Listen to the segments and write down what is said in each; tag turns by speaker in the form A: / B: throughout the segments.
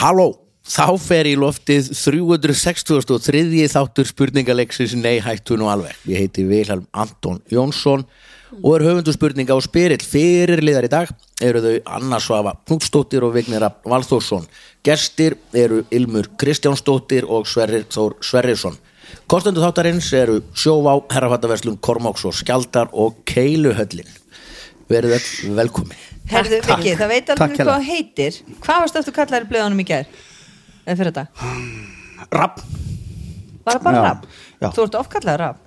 A: Halló, þá fer í loftið 363. þáttur spurningaleiksins Nei hættu nú alveg. Ég heiti Vilhelm Anton Jónsson og er höfundu spurninga á spyrill fyrir liðar í dag eru þau Anna Svafa Knútsdóttir og Vignir Rafn Valþórsson. Gestir eru Ilmur Kristjánsdóttir og Sverrir Þór Sverrisson. Kostendu þáttarins eru Sjóvá, Herrafattaverslun, Kormáks og Skjaldar og Keiluhöllin. Verið öll velkomin.
B: Herðu, Viki, það veit
C: Takk
B: alveg hvað
C: hérlega.
B: hann heitir Hvað varst aftur kallaður í blöðunum í gær? Eða fyrir þetta?
C: Rapp
B: Var það bara
C: Já,
B: rafn?
C: já.
B: Þú ert ofkallaður rafn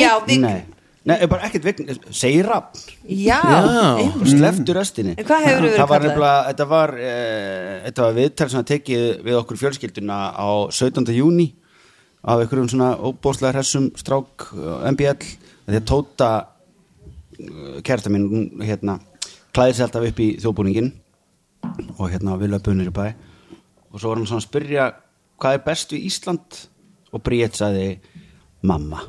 B: Já, við,
C: Nei, Nei er bara ekkert vegna Segir rapp
B: já,
A: Já.
B: einmitt.
D: Mm.
C: Sleftu restinni
B: En hvað hefurðu verið
C: Það var
B: kallaður?
C: nefnilega, þetta var e, Þetta var viðtal sem að tekið við okkur fjölskylduna á 17. júni af einhverjum svona óbóðslega hressum strák eh, MBL Þegar Tóta kærta minn hún, hérna, klæði sér alltaf upp í þjóðbúningin og hérna við löpum niður í bæ og svo var hann svona að spyrja hvað er best við Ísland og Bríett sagði mamma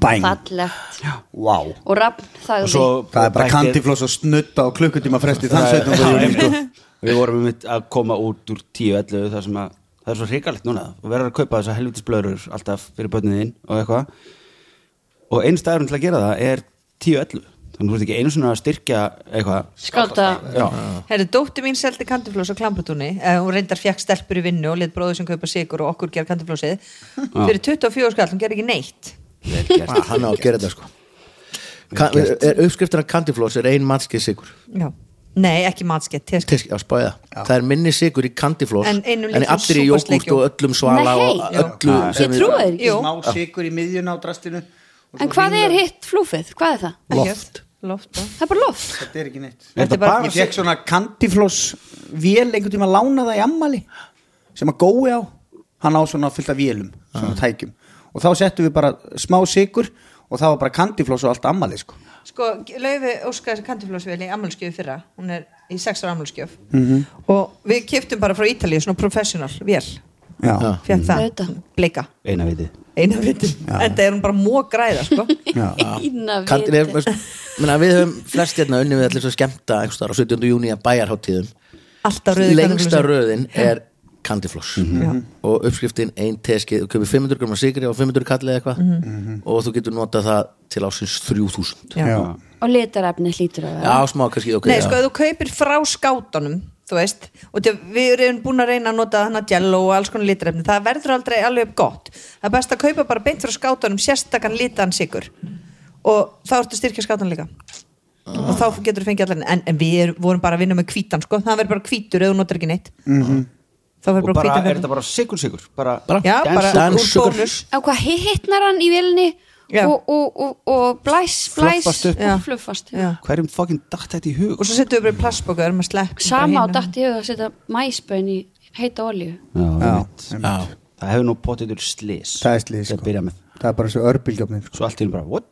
D: Bæn
E: fallegt
D: Vá
E: og Rapp þagði
C: og svo
D: Það er bara
C: bætti-
D: kandifloss og snutta og klukkutíma fresti þann
C: Það er-
D: 17.
C: Já,
D: júni sko.
C: einmitt. Við vorum einmitt að koma út úr 10-11 þar sem að það er svo hrikalegt núna og verður að kaupa þessar helvitis blöður alltaf fyrir börnið þín og eitthvað og einn staðurinn til að gera það er 10-11 þannig að þú ert ekki einu svona að styrkja eitthvað
E: skáta
C: Já,
B: Herðu, dóttir mín seldi kandiflós á Klambratúni eh, hún reyndar fjekk stelpur í vinnu og lit bróður sem kaupa sigur og okkur ger kandiflósið fyrir 24 skall, hún ger ekki neitt
C: vel gert
A: Ah, hann á að gera þetta sko Ka er uppskriftin að kandifloss er ein mannskið sigur
B: Já, nei, ekki matskett, teskett
A: Tisk, já, spáði það. það er minni sigur í kandifloss
B: En einum
A: en í
B: litlum
A: allri jógúrt
B: súparsleikjum.
A: og öllum svala
E: Nei,
A: og
B: já.
A: öllu
E: ég trúi þér ekki
B: Jú,
F: smá sigur í miðjun á drastinu og svo
E: en hvað
F: hringur-
E: er hitt flúfið, hvað er það?
B: loft Loft, já
E: það er bara loft
F: þetta er ekki neitt
B: Þetta er
F: ég
B: bara
F: fekk svona kantifloss vél einhvern tíma lána það í ammali sem að gói á hann á svona fullt af vélum svona tækjum og þá settum við bara smá sigur og það var bara kantifloss og allt ammali sko.
B: Sko, Laufi Óskars kandiflósvél í ammálskjöfu fyrra, hún er í sex ára ammálskjöf
F: Mhm.
B: -hmm. og við kiptum bara frá Ítalíu svona professional vél
F: já.
A: Já.
B: fjönd það,
E: Auðvitað.
B: bleika
C: Eina vitið
B: eina vitið, en það er hún bara mógræða sko.
E: Ína
A: Kan-
E: viti.
A: við, við, menna, við höfum flest hérna unni við allir svo skemmta einhvers staðar á 17. júni að bæjarháttíðum
B: alltaf rauði
A: lengsta röðin er kandifloss og uppskriftin ein teskið þú köpir 500 grömmar sigri og 500 kallið eitthvað og þú getur notað það til ásins 3000 já,
B: Já.
E: og litarefni hlýtur að vera
A: smá kannski ok,
B: Nei,
A: já.
B: sko, ef þú kaupir frá skátunum þú veist, og til, við erum búin að reyna að nota hana jello og alls konar litrefni það verður aldrei alveg upp gott það er best að kaupa bara beint frá skátunum sérstakann litan sigur og þá ertu að styrkja skátunum líka
A: Ah.
B: og þá getur þú fengið allar en, en við er, vorum bara að vinna með hvítan sko. það verður bara hvítur ef þú notar ekki neitt
A: Mhm.
B: þá
C: Og
B: verður bara
C: bara, er
B: hvítan
C: þetta bara sigur sigur bara,
A: Bara-
B: já, bara
A: Dan
B: úr
A: Sugar.
B: bónus
E: á hvað hittnar hann í vilni
B: Já.
E: og, og, og, og blæs, blæs
C: Fluffast upp.
B: Já.
E: og fluffast
B: Já.
C: hverjum fucking datt þetta í hug
B: og svo setjum við bara í plastbóka erum að sleppa
E: sama
B: bara
E: á
B: hinu.
E: dætt í huga að setja mæsbön í heita olju
C: Já, einmitt.
A: já.
C: Það hefur nú potið til slis
F: það er
C: Til
F: slið sko.
C: að byrja með
F: það er bara svo örbílgjöfni sko.
C: Svo allt í henni bara, what?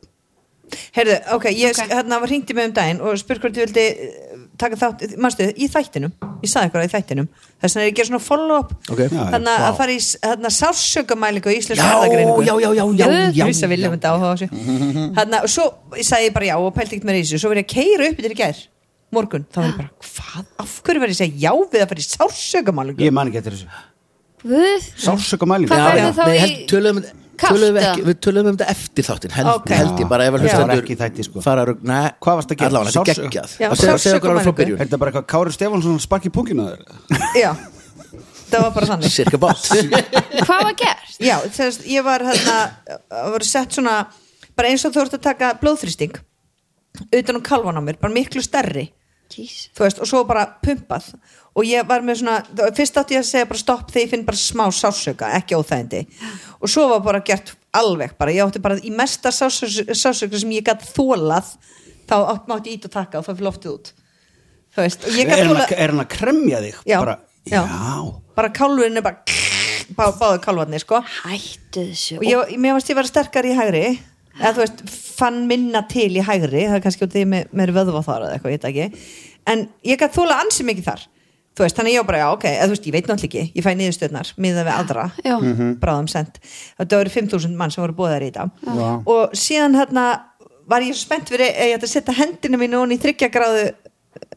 B: Heyrðu, ok, ég
E: Ok.
B: hérna var hringt í mig um daginn og spurt hvort ég vildi eh, taka þátt, manstu, í þættinum ég saði eitthvað í þættinum, þess vegna er ég að gera svona follow-up
A: Ok. Já, já.
B: þannig að fara í s- hérna, sársökamælingu í Íslands erðagreiningu
A: já, já, já, já, já,
B: Vissa viljum þetta áhuga á þessu Þannig að svo ég sagði ég bara já og pælti ekkert mér í þessu Svo verið ég að keira upp yfir í gær Morgun, þá var ég bara, hvað, af hverju verið ég að segja já við að fara í sársökamælingu
C: Ég man ekki eftir þessu
E: Guð,
C: Sársöka mælingu
E: Hvað
A: Já,
E: færðu
A: já.
E: þá
A: Nei,
E: í
A: held- tölum,
E: kalt,
A: tölum við,
E: eða?
A: ekki, við tölum um þetta eftir þáttin held,
B: Ok.
A: held ég bara ef að
B: Já.
A: hlustendur
C: Það var ekki í þætti, sko.
A: fara, rugg- nei,
C: Hvað varstu að gera?
A: allavega, þetta er
C: Sársauka?
A: geggjað
B: Já,
A: að segja, segja okkur alveg frá
B: sársaukamælingu.
C: Er
A: byrjun
C: þetta bara eitthvað Kári Stefánsson sparki punginu að þér?
B: Já, það var bara þannig
A: cirka bát
E: hvað var gert?
B: Já, þess, ég var hérna það var sett svona, bara eins og þú ert að taka blóðþrýsting utan um kalvan á mér, bara miklu stærri
E: Jeez.
B: þú veist, og svo bara pumpað og ég var með svona, þá- fyrst átti ég að segja bara stopp þegar ég finn bara smá sásöka, ekki óþægindi og svo var bara gert alveg bara, ég átti bara í mesta sásöka, sásöka sem ég gætt þólað þá átt- mátti ég ít að taka og það fyrir loftið út þú veist, og ég
C: Er
B: gætt
C: hann að-
B: þólað
C: er hann að kremja þig?
B: Já,
C: bara,
B: já.
C: já.
B: bara kálurinn er bara bá, báðu kálvarnir sko
E: hættu þessu
B: og ég, mér varst ég vera sterkar í hægri eða þú veist, fann minna til í hægri það er kannski út af því að ég með vöðva þar eða eitthvað, ég veit það ekki en ég gætt þóla ansi mikið þar þú veist, þannig að ég var bara, já, ok eða þú veist, ég veit náttúrulega ekki, ég fæ niðurstöðnar miða við aðra,
E: Já.
B: bráðum sent þetta voru 5.000 mann sem voru bóðar í þetta og síðan hérna var ég svo spennt fyrir að ég ætti að setja hendina mínu hún í þryggja gráðu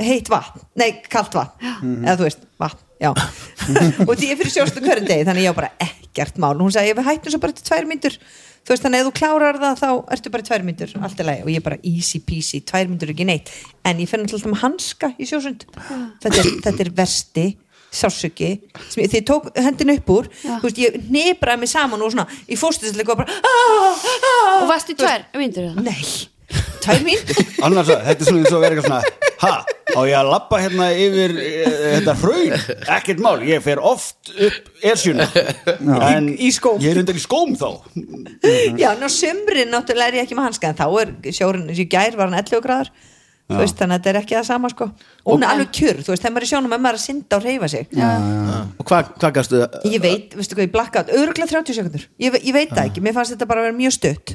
B: heitt vatn, nei, kalt vatn eða þú veist, vatn, já og því ég fyrir sjóstu hverjum degi, þannig ég á bara ekkert mál, hún sagði, við hættum svo bara til tvær myndur þú veist, þannig að ef þú klárar það þá ertu bara í tvær myndur, allt er leið og ég bara easy peasy, tvær myndur er ekki neitt en ég finn alltaf með hanska í sjósund þetta er, þetta er versti sásuki, sem ég, því ég tók hendin upp úr,
E: Já.
B: þú veist, ég nebraði mig saman og svona, ég fórstu þess bara "Ah, ah."
E: Og varstu í tvær, myndur það?
B: Nei, tvær mín
C: annars að þetta er svona eins og verið eitthvað svona ha, á ég að labba hérna yfir e, þetta hraun, ekkert mál ég fer oft upp esjuna en
B: Í- í skóm.
C: ég er undan í skóm þá
B: Já, ná sömrin náttúrulega er ég ekki með hanska en þá er sjórin, eins og í gær var hann 11 gráður þú veist, þannig að þetta er ekki það sama sko og hún er alveg kjur, þú veist, þegar maður er í sjónum er maður að synda og reyfa sig
A: og hvað hva gastu
B: ég veit, veistu hvað, ég blakka örgulega 30 sekundur, ég, ve- ég veit það ekki mér fannst þetta bara að vera mjög stutt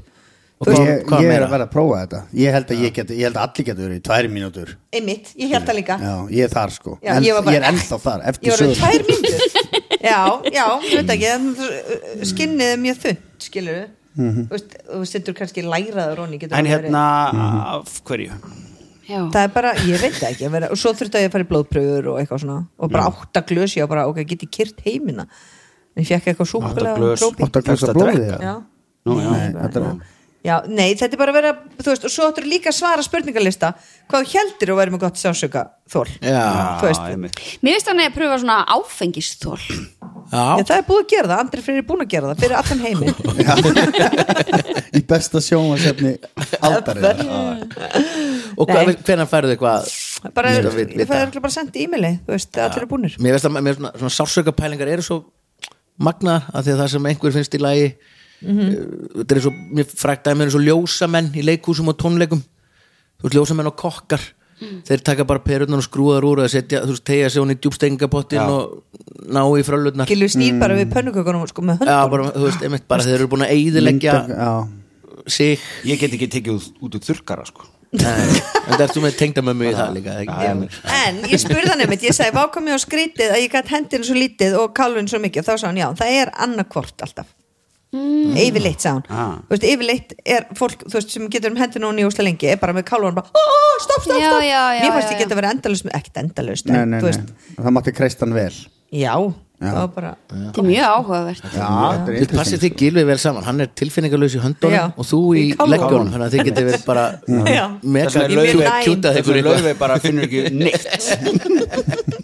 A: og hvað,
F: ég,
A: hvað
F: ég er
A: meira
F: að vera að prófa þetta ég held að, ég get, ég held að allir getur verið í tvær mínútur
B: einmitt, ég held það líka
F: já, ég er þar sko
B: Já,
F: en,
B: ég
F: ég,
B: var bara-
F: er ennþá þar
B: ég
F: eftir
B: var alveg
F: sögur
B: tvær mínútur já, já, ég veit ekki en skinnið er mjög þunnt, skilur
F: Mhm.
B: þú veist, þú setur kannski læraður onni, getur
C: en
B: alveg verið-
C: hérna, af hverju
E: Já.
B: það er bara, ég veit það ekki að vera, og svo þurfti að ég að fara í blóðpröfur og eitthvað svona og bara átta glös, ég var bara, ok, get ég kyrt heimina en ég fekk eitthvað súkulega
C: glös.
F: átt að glösa
C: Eftir að
F: blóðið
C: drekka.
B: já.
F: já.
C: Nú, já.
F: Nei, þetta er-
B: já, nei, þetta er bara að vera þú veist, og svo áttur líka að svara spurningalista hvað þú heldur að vera með gott sjásöka þól
A: Já.
B: þú veist,
C: Já,
B: já,
C: einmitt.
E: Mér finnst hann að pröfa svona áfengisþól
A: já,
B: það er búið að gera það, Andri Freyr er búin að gera það fyrir allan heimi
F: í besta sjónvarsefni aldarið
A: og
B: Nei.
A: hvernig færðu eitthvað
B: bara,
A: Ég
B: ég
A: skal vit- vita.
B: fæði örugglega bara að senda e-maili þú veist, allir er búinir
A: mér veist að mér svona, svona sársöka pælingar eru svo magna að því að það sem einhver finnst í lagi uh, þetta er svo, mér fræktaði mér svo ljósamenn í leikhúsum og tónleikum þú veist, ljósamenn og kokkar þeir taka bara perutnar og skrúðar úr að setja, þú veist, tegja sig hún í djúbstengapottin
C: Já.
A: og ná í frölutnar
B: Gilvi snýr bara
A: Mm.
B: við pönnukökunum sko, með
A: Já,
B: höndunum
A: bara, þú veist, einmitt, bara þeir eru búin að eyðileggja
F: já,
A: sig
C: ég get ekki tekið út- út úr þurrkara sko.
A: en það ertu með tengdamömmu í það líka ekki?
B: En ég spurði hann einmitt, ég sagði vákvæmi og skrítið að ég gætt hendinu svo lítið og kálfinu svo mikið og þá sagði hann já, það er annarkvort alltaf mm. yfirleitt sagði hann
C: Ah.
B: þú veist, yfirleitt er fólk, þú veist, sem getur um hendinu og nýjúsla lengi, er bara með kálfinu bara, ó, stopp, stopp,
E: Já,
B: stopp
E: já, já,
B: mér fannst
E: já,
B: ég
E: já.
B: geta verið endalaust, með- ekkert endalaust
F: nei,
B: en,
F: nei,
B: þú veist,
F: nei. það mátti kreistan vel já,
B: já, það var bara
E: Þetta er mjög áhugavert
F: þetta er
A: Ah,
F: sko.
A: Þið passið
F: interessant
A: þig Gilvi vel saman, hann er tilfinningalös í höndunum
B: Já.
A: og þú í
B: Í kálfanum.
A: leggjónum þannig að þið getið verið bara
B: Já.
A: mega
C: Þess vegna er
A: kjúta-
B: Laufey-
A: kjúta þig
C: þess
A: fyrir
C: að
A: eitthvað
C: lögvei bara finnur ekki neitt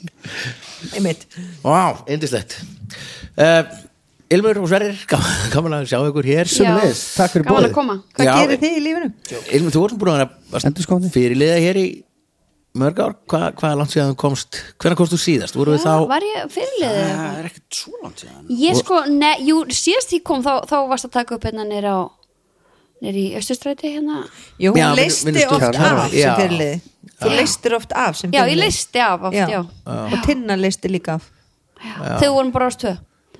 B: einmitt,
A: Vá, indislegt uh, Ilmur og Sverrir, gaman- gaman að sjá ykkur hér
F: Sömuleiðis, takk fyrir
E: Gaman
F: boðið.
E: að koma
B: hvað
A: Já.
B: gerir þið í lífinu?
A: Ilmur, þú vorum búin að vera
F: Endurskoðandi.
A: fyrirliða hér í mörg ár Hva, hvað er langt síðan þú komst, hvernig komst þú síðast? Voru við þá,
E: Var ég fyrirliðið?
C: það er ekkert svo langt síðan
E: Ég sko, ne, jú, síðast ég kom þá, þá varst að taka upp hérna nýr á nýr í Östustræti hérna
B: Jú, hún
A: Já, vinnu-
B: leisti
A: vinnustofur.
B: oft
A: Já.
B: af sem
A: Já.
B: fyrirliði þú leistir oft af sem
E: Já, ég
B: fyrirliði.
E: leisti af oft, já, já.
B: og Tinna leisti líka af
E: Þau vorum bara ást tvö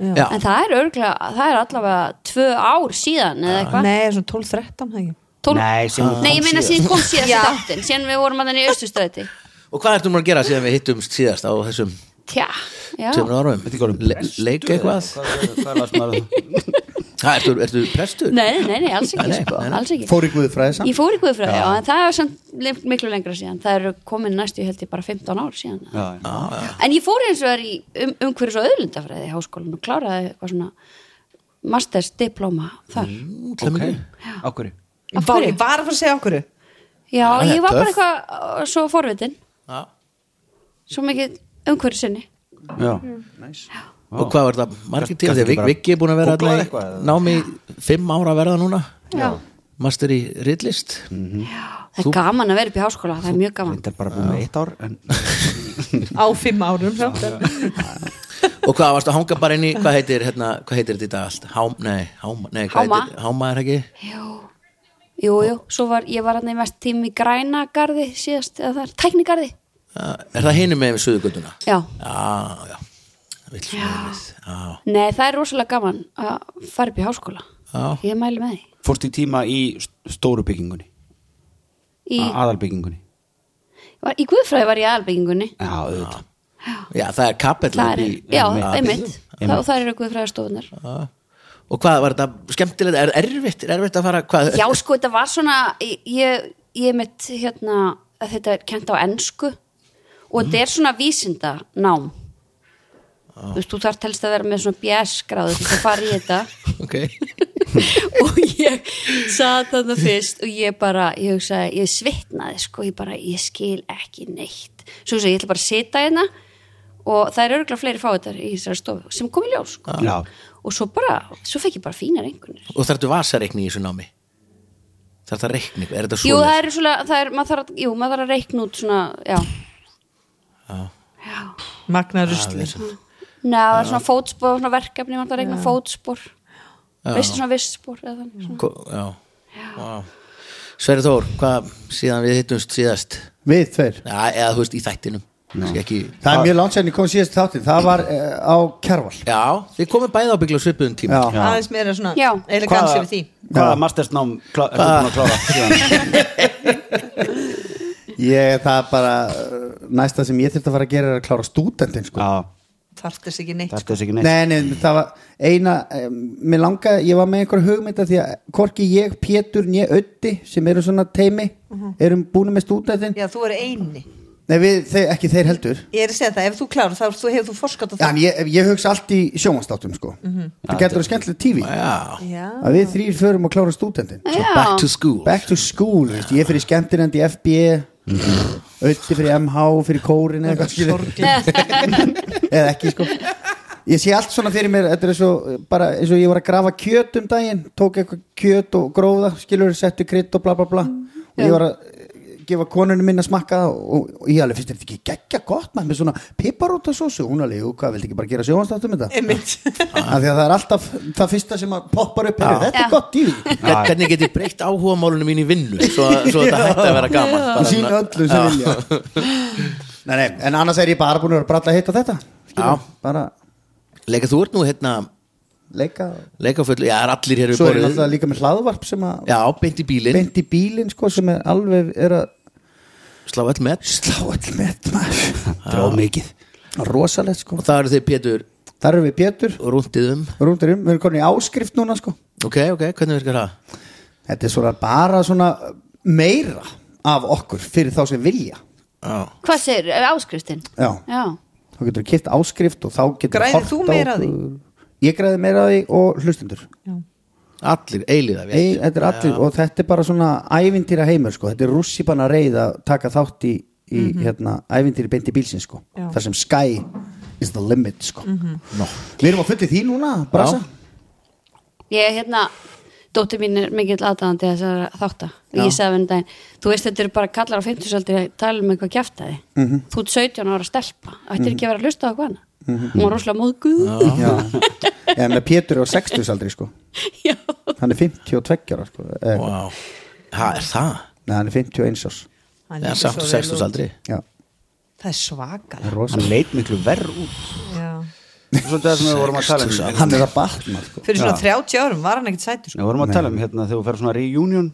A: Já.
E: En það er örgulega, það er allavega tvö ár síðan eða eitthvað
B: Nei, svona 12-13 það ekki
E: Tól...
C: Nei, síðan hún kom
E: Nei, ég meina
C: síðast.
E: síðan kom síðast
B: Já.
E: í dáttin síðan við vorum að þannig í Östustræti
A: og hvað ertu mér að gera síðan við hittumst síðast á þessum
E: Tja, já
A: tveimur árum?
C: Veit ekki hvað um
A: Le
C: prestur
A: leik
C: eða
A: eitthvað?
C: hvað- hvað las maður það?
A: Ha, ertu, ertu prestur?
E: Nei, nei, nei, alls
A: Nei,
E: ekki,
A: nei,
E: sko,
A: nei, nei.
E: alls ekki
F: fór í guðfræði samt
E: Ég fór í Guðfræði, já, en það er samt le- miklu lengra síðan Það eru komin næstu, ég held ég, bara 15 ár síðan
C: Já, já.
E: En ég fór eins og er í um, umhverfis og öðlindafræði í háskólan og kláraði eitthvað svona masters diploma þar
A: Til
C: ok,
A: hamingju.
C: á hverju?
E: Af
B: Ég var,
E: hverju?
B: ég var að fara að segja okkur
E: Já,
A: Já,
E: ég var
A: töff.
E: bara eitthvað uh, svo forvitin
A: Já.
E: svo mikið umhverfisinni
C: Já.
A: og hvað var það margir tíma
C: Kannski
A: þegar Vik-
C: bara
A: Viggi er búin að vera
C: googlaði
A: þarna
C: eitthvað,
A: í
C: eða?
A: námi í fimm ára að verða núna
E: Já.
A: master í ritlist
C: Mm.
E: Það er gaman að vera upp í háskóla, það er mjög gaman
C: Þetta er bara búin með eitt ár en
B: á fimm árum samt
A: og hvað varst að hanga bara inn í hvað heitir, hérna, hvað heitir þetta í dag allt Hám, nei, háma, nei, hvað
E: Háma.
A: heitir, háma er ekki
E: Jú, jú, jú, svo var ég var hann í mest tími í grænagarði síðast, eða það er tæknigarði
A: Uh, er það hinum með suðugötuna
E: Já,
A: já, já, það vill svo verið. já.
E: nei, það er rosalega gaman að fara upp í háskóla
A: Já.
E: Ég mæli með því
C: fórst í tíma í st- stóru byggingunni í...
E: Í,
C: aðalbyggingunni
E: var, í Guðfræði var ég í aðalbyggingunni
C: Já, auðvitað
A: já, það er kapell
E: Það er,
A: í-
E: já,
A: í-
E: einmitt, það, og það eru Guðfræðastofunar
A: Já. og hvað var þetta skemmtilegt, er erfitt, er erfitt að fara hvað,
E: Já, sko, þetta var svona ég, ég mitt hérna að þetta er kent á ensku og þetta er svona vísinda nám þú veist, þú þarf telst að vera með svona BS gráðu til að fara í þetta
A: ok
E: og ég saði þarna fyrst og ég bara, ég hugsaði, ég svitnaði sko, ég bara, ég skil ekki neitt svo hugsaði, ég ætla bara að sita hérna og það er örgulega fleiri fáiðar í þessari stofu sem kom í ljós sko.
C: Já.
E: og svo bara, svo fekk ég bara fínar einhvernir
A: Og þarftu vasareikni í þessu námi? Þarftu að reikni, er þetta
E: jú,
A: svo?
E: það er svona, það er, maður þarf að jú, maður þarf að reikna út svona, já
B: magna ruslir
E: Nei, það er svona fótspor, svona verkefni maður þarf að reikna fótspor veistu svona vistspor eða þannig svona.
A: Já, já. Sverri Þór, hvað síðan við hittumst síðast?
F: Við tveir
A: Já, eða þú veist, í þættinum Kannski ekki...
F: Það er mjög langt sérni kom síðast í þáttinn Það var uh, á Kjarval
A: Já, þið komið bæði á byggla svipuðum tíma
F: Já.
B: aðeins meira svona
E: Já.
B: elegansi við því
C: Hvaða mastersnám klá, ertu búin
F: Ah.
C: að klára síðan?
F: Ég, það er bara uh, Næsta sem ég þurfti að fara að gera er að klára stúdendin sko.
C: Já,
B: þarf þess ekki neitt
C: þetta er þessi ekki neitt
F: Nei, nei, það var eina eh, Mér langaði, ég var með einhver hugmynda Því að hvorki ég, Pétur, né Öddi Sem eru svona teimi Erum búin með stúdendin
B: já þú eru eini
F: Nei, við, þeir, ekki þeir heldur
B: ég er að segja það ef þú klárar þá þú- hefur þú forskat á
F: Já,
B: það
F: en ég, ég hugsa allt í sjónvastáttum sko. Það getur að skemmtilega tífi
A: Já,
B: já
F: Að við þrýr förum að klára stúdendin
A: so back to school
F: Back to school, veist, ég fyrir skemmtinandi í FB Ötti fyrir MH fyrir kórin eða, eitthvað, skilur. eða ekki sko Ég sé allt svona fyrir mér Þetta er svo, bara eins og ég var að grafa kjöt um daginn Tók eitthvað kjöt og gróða Skilur, setti krydd og bla bla bla Og ég var að eh, gefa konunum minna að smakka það og, og ég alveg finnst þetta ekki geggja gott maður með svona piparóta sósu hún alveg, jú, hvað, vildi ekki bara gera sjóhansláttum þetta
B: einmitt
F: af því að það er alltaf það fyrsta sem að poppar upp er, þetta
E: Já.
F: er gott í því
A: Get- Hvernig get ég breytt áhuga málunum mín í vinnu Svo, svo þetta hætti að vera gaman
F: og
A: Bara
F: sína
A: svona-
F: öllu sem vilja nei, nei, en annars er ég bara búin að vera bralla hitt á þetta
A: Já.
F: Skilur, bara
A: Leika, þú ert nú hérna
F: leika
A: Leika fullu, já, það er allir hér við
F: svo er ég
A: borðið
F: náttúrulega líka með hlaðvarp sem að
A: Já, beint í bílinn,
F: beint í bílinn sko sem er alveg er að
A: slá öll með
F: slá all með maður
C: Dró mikið
F: rosalegt sko
A: Og það eru þið Pétur
F: þar erum við Pétur
A: rúndið um
F: rúndir um við erum komin í áskrift núna sko
A: Ok, ok, hvernig virkar það?
F: þetta er svona bara svona meira af okkur fyrir þá sem vilja
A: Já,
E: hvað segir, er áskriftin?
F: já
E: já,
F: þá getur við kipt áskrift og þá getur
B: Græðir þú meira á því?
F: ég græði meira á því og hlustundur
A: allir, eilíða við
F: Ei, þetta er allir, og þetta er bara svona ævintýra heimur sko, þetta er rússipanna reið að taka þátt í, í hérna, ævintýri beint í bílsins sko,
B: Mhm. Já. Mhm.
F: þar sem sky is the limit sko no. Við erum á fundi því núna, Brasa
E: Ég, hérna, dóttir mín er mikill aðdáðandi þessara þáttar og ég sagði henni daginn, þú veist þetta eru bara kallar á 50 saldi að tala um eitthvað kjaftaði þú ert 17 ára stelpa ættir ekki að vera að hlusta á eitthvað annað hún var rosalega móðguð
F: Já, ég meina Pétur er á 60 aldrei sko
E: Já.
F: hann er 52 ára sko eh,
A: Vá, það er það
F: Nei, hann er 51 árs
B: Hann
A: Það er
B: lítur
A: samt
B: svo vel út.
A: 60 aldri
F: Já,
B: það er svakal
F: það er rosa
C: Hann leit miklu verð út Svolítið það sem við vorum að tala um
F: Hann er að batna sko
B: fyrir svona 30 árum var hann ekkert sætur sko.
C: Við vorum að tala um hérna þegar þú fer svona reunion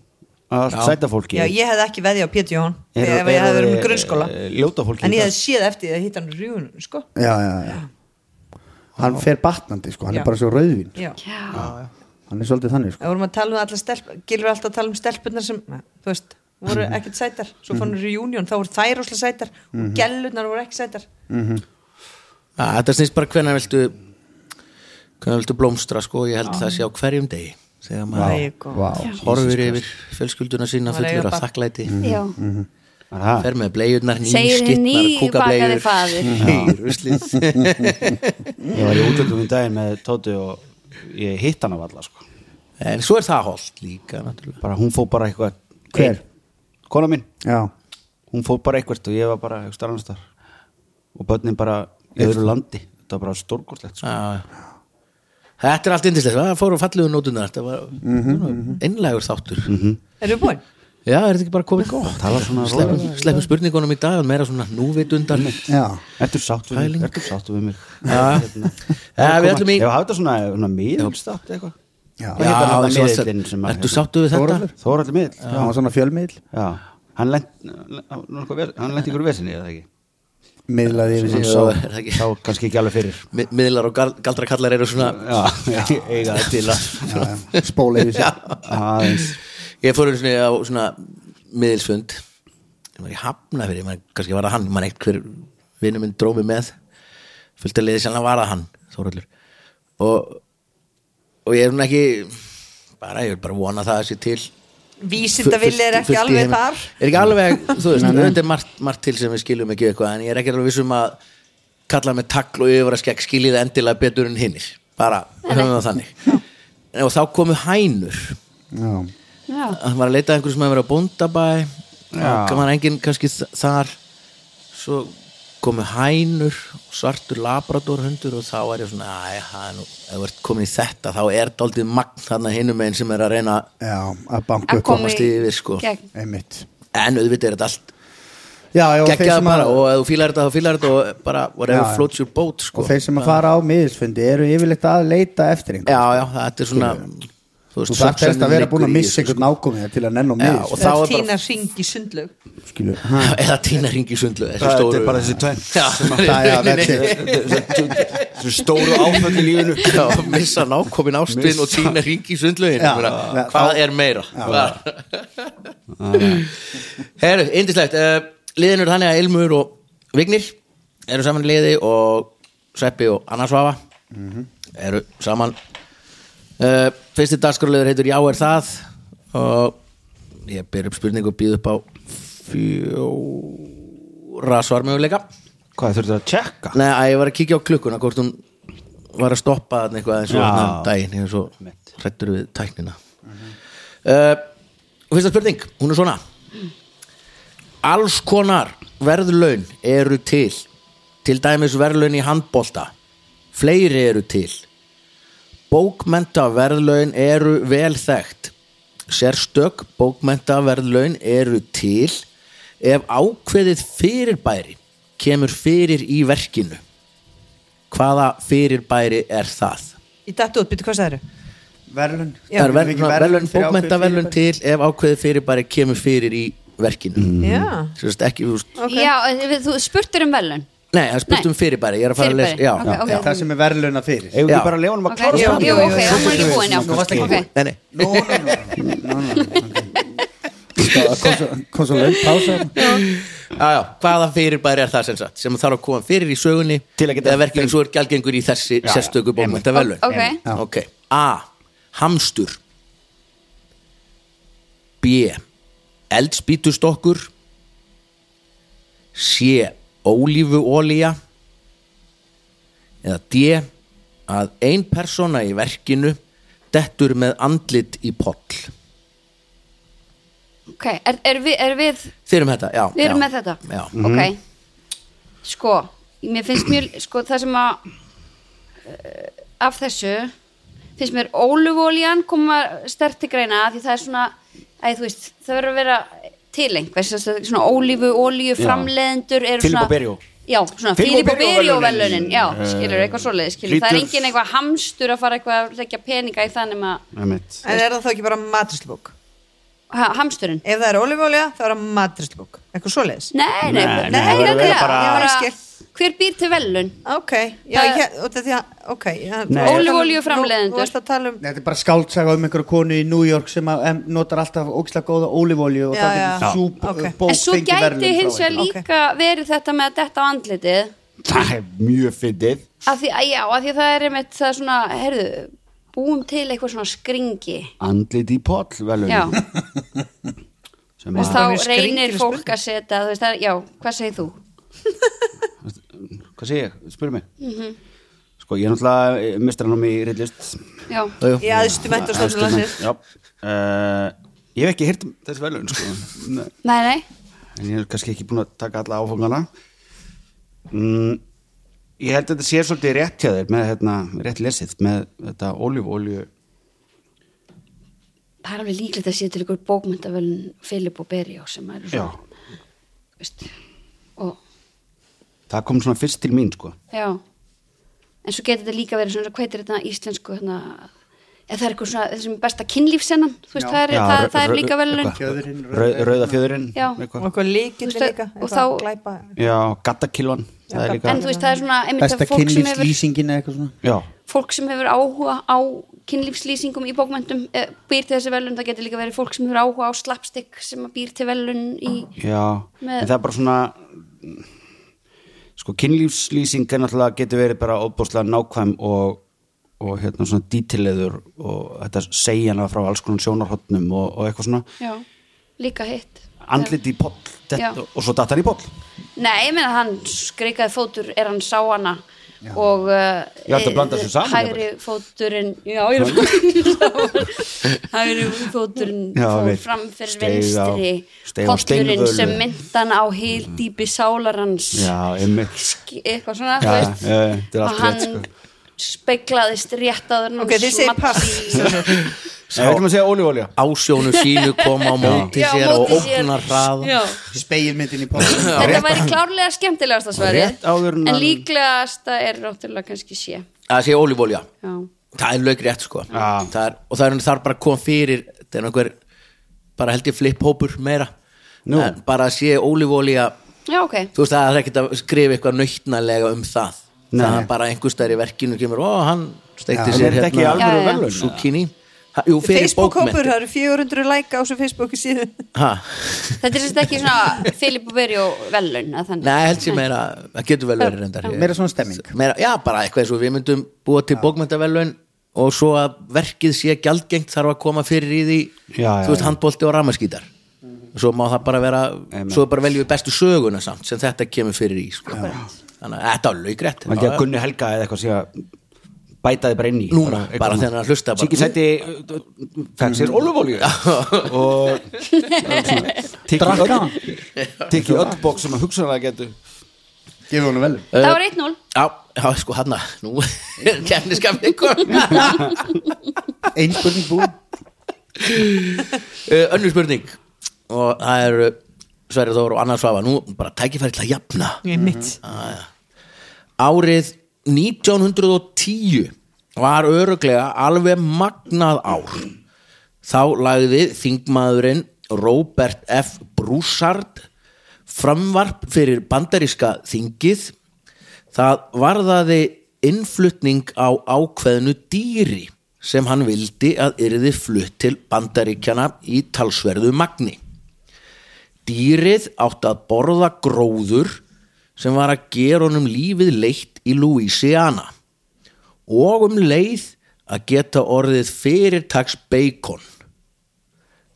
C: að allt sæta fólki
B: já ég hefði ekki veði á Pétur Jón
C: Eru-
B: ef ég
C: eru-
B: hefði verið með grunnskóla
C: eh, Ljóta fólki í
B: en ég
C: dag.
B: hefði séð eftir því að hitta hann rjúun sko
F: Já, já, já Hann fer batnandi sko, hann
B: Já.
F: er bara svo rauðvin
B: já
F: Hann er svolítið þannig sko
B: Það vorum að tala um allar stelp Gilur alltaf að tala um stelpunar sem Þú veist, voru
A: Mhm.
B: ekkert sætar Svo fann hún reunion, þá voru þær óslega sætar
A: Mhm.
B: Og gellurnar voru ekki sætar
A: Æ, Þetta snýst bara hvenær viltu hvenær viltu blómstra sko ég held það sé á hverjum degi þegar maður
B: Æ, gott.
F: Vá.
A: horfir yfir fjölskylduna sína
B: Maður
A: fullur
B: eiga
A: af
B: barn.
A: þakklæti
E: Já.
A: Mhm.
C: Aha.
A: fer með bleiurnar,
E: Segir hinn
A: nýskittnar,
E: nýbakaði faðir.
A: kúkableiur ruslið
C: Ég var í útlöndum um daginn með Tóti og ég hitt hann af alla sko.
A: en svo er það holdt líka náttúrulega
C: bara, hún fó bara eitthvað
F: Hver?
C: Ein. Kona mín,
F: Já,
C: hún fó bara eitthvað og ég var bara eitthvað annars þar og börnin bara í öðru landi þetta var bara stórkortlegt sko.
A: Já. Þetta er allt indislegt, það fóru fallegu nótunar þetta var mm einlægur þáttur
B: Erum við búin?
A: Já, er þetta ekki bara komið gott?
C: tala svona
A: Sleppum,
C: rólega.
A: sleppum spurningunum í dag en meira svona núvitundar
F: já
C: Ertu sátt við mig?
A: Pæling.
C: Ertu sátt við mig?
A: Já. Já, við ætlum í-
C: Ég hafa þetta svona, svona miðilstátt eitthvað
F: Já.
C: Hvað heitir hann að
A: svo
C: miðillinn sem að- hérna-
A: Ertu sáttu við þetta?
F: Þórhallur?
C: Þóraldur miðill
F: Já, hann var svona fjölmiðl
C: Já, hann lent hann lent ykkur vesinni eða ekki
F: miðlaði yfir
A: Sem
F: sig
A: sá-
F: svo
A: er það ekki?
C: Sá kannski ekki alveg fyrir
A: Mi- miðlar og gal- galdrakallar eru svona
C: Já, eiga það til að
F: spóla yfir sig
C: aðeins
A: ég fór einu sinni á svona miðilsfund ég var í hafna fyrir, maður, kannski var það hann maður eitt hver vinnum minn drómi með fullt að liði sannlega var það hann Þórhallur og, og ég er hún ekki bara, ég vil bara vona að það sé til
B: vísindavilli er ekki
A: fullt í
B: alveg
A: heiminum.
B: þar
A: er ekki alveg, þú veist, auðvitað er margt, margt til sem við skiljum ekki eitthvað, en ég er ekki alveg vissum að kalla með tagl og yfir að skekk skiljið endilega betur en hinnir bara, höfum það þannig og þá komu hænur
F: Já.
E: já,
A: hann var að leita að einhverju sem hefði verið á bóndabæ og var enginn kannski þ- þar svo komu hænur og svartur labradorhundur og þá er ég svona, æ, það er nú ef þú ert komin í þetta, þá er daldið magn þarna hinum einn sem er að reyna
F: Já, að banka
E: að
F: upp á
E: koma
A: komast yfir, sko.
E: gegn,
F: einmitt
A: en auðvitað er þetta allt
F: Já, já, og þeir
A: geggjað
F: sem
A: bara
F: að
A: og ef þú fílar þetta, þá fílar þetta og bara,
F: Já,
A: whatever
F: já.
A: floats your boat, sko
F: og þeir sem að fara á miðilsfundi eru yfirleitt að leita eftir einhver
A: já, já, þetta er svona þú
F: þú þarf helst að vera búin að missa
A: einhvern
F: einhvern ákomið til að nenn á
A: og
F: miðilsfundi
A: þá er bara-
B: tína ringi sundlög
F: Skilu.
A: sko. eða tína ringi sundlu þessi
C: Það
A: stóru
C: er bara þessi tvenn
F: Það
A: já,
F: er að þetta er-
C: Þessu stóru áföll í lífinu
A: Já, missa nákomin ástin
C: Missa.
A: og tína ringi sundlögin
F: Já, já,
A: hvað
F: þá-
A: er meira herru, indislegt uh, liðin eru þannig að Ilmur og Vignir eru saman í liði og Sveppi og Anna Svafa
F: Mhm.
A: eru saman uh, fyrsti dagskrarliður heitur Já er það og ég ber upp spurningu og býð upp á fjóra svarmjöguleika
C: Hvað þurftu að tjekka?
A: Nei, að ég var að kíkja á klukkuna hvort hún var að stoppa þarna eitthvað eins og
C: Já.
A: þannig daginn eins
C: Mitt.
A: og hrættur við tæknina uh, og Fyrsta spurning, hún er svona Alls konar verðlaun eru til til dæmis verðlaun í handbolta fleiri eru til Bókmentaverðlaun eru vel þekkt. Sérstök bókmentaverðlaun eru til ef ákveðið fyrirbæri kemur fyrir í verkinu. Hvaða fyrirbæri er það?
B: í dættu út, byrju hvað það eru
F: verðlun
B: Já,
A: það er verðlaun,
F: verðlaun
A: verðlaun,
F: fyrir
A: bókmentaverðlaun
F: ákveðið
A: til ef ákveðið fyrirbæri kemur fyrir í verkinu. Mm.
B: já,
A: Sérst ekki, þú veist,
B: ok
E: já, við- þú spurtur um velun
A: nei, það er spurt
E: Nei.
A: um fyrirbæri, ég er að fara
E: Fyrirbæri,
A: að lesa, já.
E: ok, ok.
F: það sem er verðluna fyrir
C: Eigum
A: Já.
C: við bara að leifunum að
E: ok,
C: klára
E: jú,
B: spurningu.
E: jú,
B: Jú,
E: ok,
B: jú,
E: hún var ekki
F: jú,
E: búin já,
F: jú, jú,
E: ok,
A: Nei, nei.
F: Nó, nó, nó, nó, nó, nó, nó, nó. kom svo löng pása
A: Já, já, hvaða fyrirbæri er það sem sagt sem þarf að koma fyrir í sögunni
C: Til að geta-
A: eða verkefni svo er gælgengur í þessi
C: já,
A: sérstöku bókmynda velun
E: Ok.
F: Já.
A: ok A. Hamstur B. Eldspýtustokkur C. Ólífuolía eða D. að ein persóna í verkinu dettur með andlit í poll
E: ok er, er, við, er við,
A: Þeir um þetta, já
E: við erum
A: já,
E: með þetta
A: Já,
C: Mhm.
E: ok, sko mér finnst mér, sko það sem að uh, af þessu finnst mér ólufóljan koma stert til greina af því það er svona, æ, þú veist það verður að vera til einhvers þess að svona ólífu, ólíu, framleðendur eru
C: Filippo
E: svona
C: Berio.
E: Já, svona
C: Filippo
E: Filippo
C: Berio
E: Berio
C: verðlaunin.
E: velunin, já,
C: Eh,
E: skilur eitthvað svoleiðis, skilur, það er
C: hlýtur-
E: engin eitthvað hamstur að fara eitthvað að leggja peninga í þannig að
C: Einmitt.
B: en er það þá ekki bara matristlbók
E: ha, hamsturinn
B: ef það er olífólja þá er það matristlbók eitthvað svoleiðis
E: Nei, nei,
C: Nei,
E: nei,
C: nei, það verður
E: þetta er
C: bara-
E: bara-
B: Já, ég skil.
E: Hver býr til velun?
B: ok, já,
E: Það-
B: ég, og þetta er ok já,
C: Nei.
E: Ólífuolíuframleiðendur.
B: þú veist að tala um
F: Nei, þetta er bara skáldsaga um einhverja konu í New York sem að, em, notar alltaf ógislega góða ólífólju og
B: Já,
F: það
B: já.
F: getur súb
B: Ok.
F: okay. bók
E: en svo
F: fengið
E: gæti
F: verðlaun frá
E: hins vegar
F: einhverjum.
E: líka verið þetta með að detta á andlitið
C: Það er mjög fyndið
E: af því að já, af því að það er einmitt það er svona, herðu, búum til eitthvað svona skringi
C: Andlit í poll velun
E: já,
C: sem
E: þú veist,
C: að,
B: Það er
E: þá
B: skringileg
E: reynir
B: spurning.
E: fólk að setja þú veist, það er, já, hvað segir þú?
C: Hvað segir ég? Spyrir mig Sko, ég er náttúrulega mistranum í rillist
E: Já,
A: já, já.
B: í aðstu mentastofnum landsins
C: Já Eh, Ég hef ekki hýrt um þessi velun sko. Nei.
E: nei, nei
C: En ég er kannski ekki búin að taka alla áfangana mm, Ég held að þetta sé svolítið rétt hjá þér með hérna, rétt lesið með þetta olífólju
E: það er alveg líklegt að sé til ykkur bókmyndavelun Filip og Berjó sem eru
C: Já,
E: svona, þú veist og,
C: það kom svona fyrst til mín sko
E: já en svo getur þetta líka verið svona, hvað heitir þetta íslensku hérna, eða það er eitthvað svona, þessum besta kynlífsennan þú veist, það er,
C: Já,
E: það,
C: rau-
E: það er
C: rau-
E: líka velun
C: eitthvað.
F: Fjöðrin, rauð-
C: Rau- Rauða fjöðurinn
E: Já.
B: og eitthvað líkill
E: Þú veist,
B: líka
E: og
B: eitthvað
E: þá-
B: glæpa
C: Já, gattakilvan Það er líka
E: en þú veist, það er svona einmitt
F: besta
E: fólk sem hefur
F: kynlífslýsingin eða eitthvað svona
C: Já,
E: fólk sem hefur áhuga á kynlífslýsingum í bókmöntum eh, býr til þessi velun, það getur líka verið fólk sem hefur áhuga á slapstick sem að býr til velun í,
C: Já,
E: Með-
C: en það er bara svona sko kynlífslýsing er náttúrulega getur verið bara óbúslega nákvæm og, og hérna svona dítilegur og þetta segja hana frá alls konar sjónarhotnum og, og eitthvað svona
E: já, líka hitt
C: andlit í poll
E: Já.
C: dett, og svo datt hann í poll
E: Nei, ég meina hann skreikaði fótur er hann sá hana og uh,
C: Ég ætti að blanda þessu saman,
E: hægri fóturinn já, ég er að- hægri fóturinn
C: Já,
E: fór
C: við-
E: fram fyrir
C: steig á-
E: vinstri
C: steig á
E: pollurinn
C: steinvölu.
E: sem myndan á heildýpi sálarans
C: Já, einmitt
E: Sk- eitthvað svona
C: Já,
E: þú veist,
C: já, já, þetta er allt
E: og hann
C: rétt, sko.
E: speglaðist rétt áður en hann
B: ok, þið segir
E: small
B: pass
E: í-
B: sem sagt.
C: Nei, við ætlum að segja ólífólja
A: ásjónu sínu koma á móti
E: Já,
A: sér og
E: móti sér.
A: ógnar hraða
E: Já.
F: Speilmyndin í pólum
E: þetta væri klárlega skemmtilegasta sværi
C: Rétt áður en
E: en
C: hann-
E: líklegasta er ráttúrulega kannski sé
A: það sé ólífólja
E: já,
A: það er lög rétt sko
C: Já.
A: það er, og það er þar bara kom fyrir það er einhver, bara held ég fliphópur meira
C: Nú.
A: en bara sé ólífólja
E: já ok
A: þú veist það er ekkert að skrifa eitthvað nautnalega um það
C: Nei.
A: það er bara einhverstaðar í verkinu kemur, ó hann
C: En
A: steikti sér
C: er þetta ekki
A: hérna
E: Já,
C: alveg
E: já.
C: verðlun?
A: zucchini Ha- jú, fyrir
B: Facebook-hópur,
A: bókmynd
B: það eru 400 læka á þessu Facebooku síðan
E: Þetta er sérst ekki svona Filip og Verjó velun að þannig.
A: Nei, held ég meira, það getur vel verið reyndar
F: Meira svona stemming.
A: meira, Já, bara eitthvað eins og við myndum búa til bókmyndavelun og svo að verkið sé gjaldgengt þarf að koma fyrir í því
C: Já, já,
A: þú
C: já.
A: veist,
C: Mhm.
A: handbólti og ramaskítar svo má það bara vera,
C: Amen.
A: svo bara veljum við bestu söguna samt sem þetta kemur fyrir í sko. þannig að þetta er laugrætt
C: Mældi að Gunni Helga eða eitthvað sé að bæta þið bara inn í
A: Núna, bara þegar hann hlusta bara.
C: Siggi sætti fekk sér ólufólju og
F: Drakk hann?
C: tikki öll bók sem að hugsanlega getur
F: Gefið honum vel
E: Það var 1-0
A: Já, já, sko hann að nú er kemniskapið kom
F: Einn spurning búin
A: Uh, önnur spurning og það eru Sverri Þór og Anna Svafa nú bara tækifæri til að jafna
B: ég mitt
A: árið 1910 var öruglega alveg magnað ár þá lagði þingmaðurinn Robert F. Broussard framvarp fyrir bandaríska þingið það varðaði innflutning á ákveðnu dýri sem hann vildi að yrði flutt til bandaríkjana í talsverðu magni Dýrið átt að borða gróður sem var að gera honum lífið leitt í Louisiana og um leið að geta orðið fyrirtaks beikon.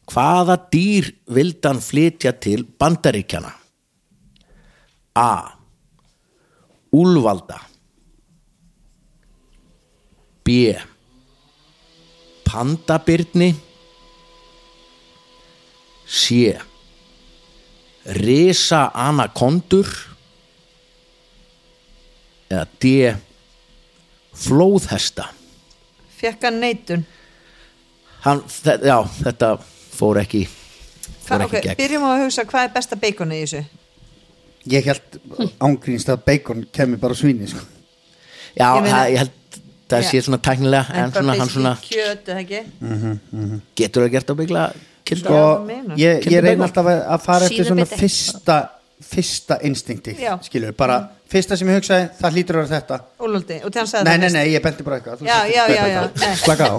A: Hvaða dýr vildi hann flytja til bandaríkjana? A. Úlvalda B. Pandabirni C. Risa anakondur eða D flóðhesta
B: fekk hann neitun
A: Hann, þe já, þetta fór ekki
B: Hva,
A: fór ekki
B: okay,
A: gegn
B: byrjum á að hugsa hvað er besta bacon í þessu
F: Ég held ángrínst að bacon kemur bara svíni sko.
A: Já, ég,
B: Ég meina-
A: ég held það
B: Já.
A: sé svona tæknilega en
B: bara
A: svona, hann
B: basically
A: svona Mm.
B: kjöt eða ekki
A: getur það gert á byggla
F: sko,
A: kilda
B: Já, meinar.
F: ég, ég
A: Kemur bacon.
F: reyna alltaf að að fara eftir
E: Síðu
F: svona
E: biti.
F: fyrsta fyrsta instinkti
B: Já.
F: skilur, bara fyrsta sem ég hugsaði það hlýtur að vera þetta
B: Úlfaldi, og þannig sagði
F: nei,
B: það
F: nei,
B: fyrst.
F: nei, ég benti bara eitthvað þú
B: Já,
F: sagðir
B: já, já,
F: þetta.
B: já, nei.
F: slaka á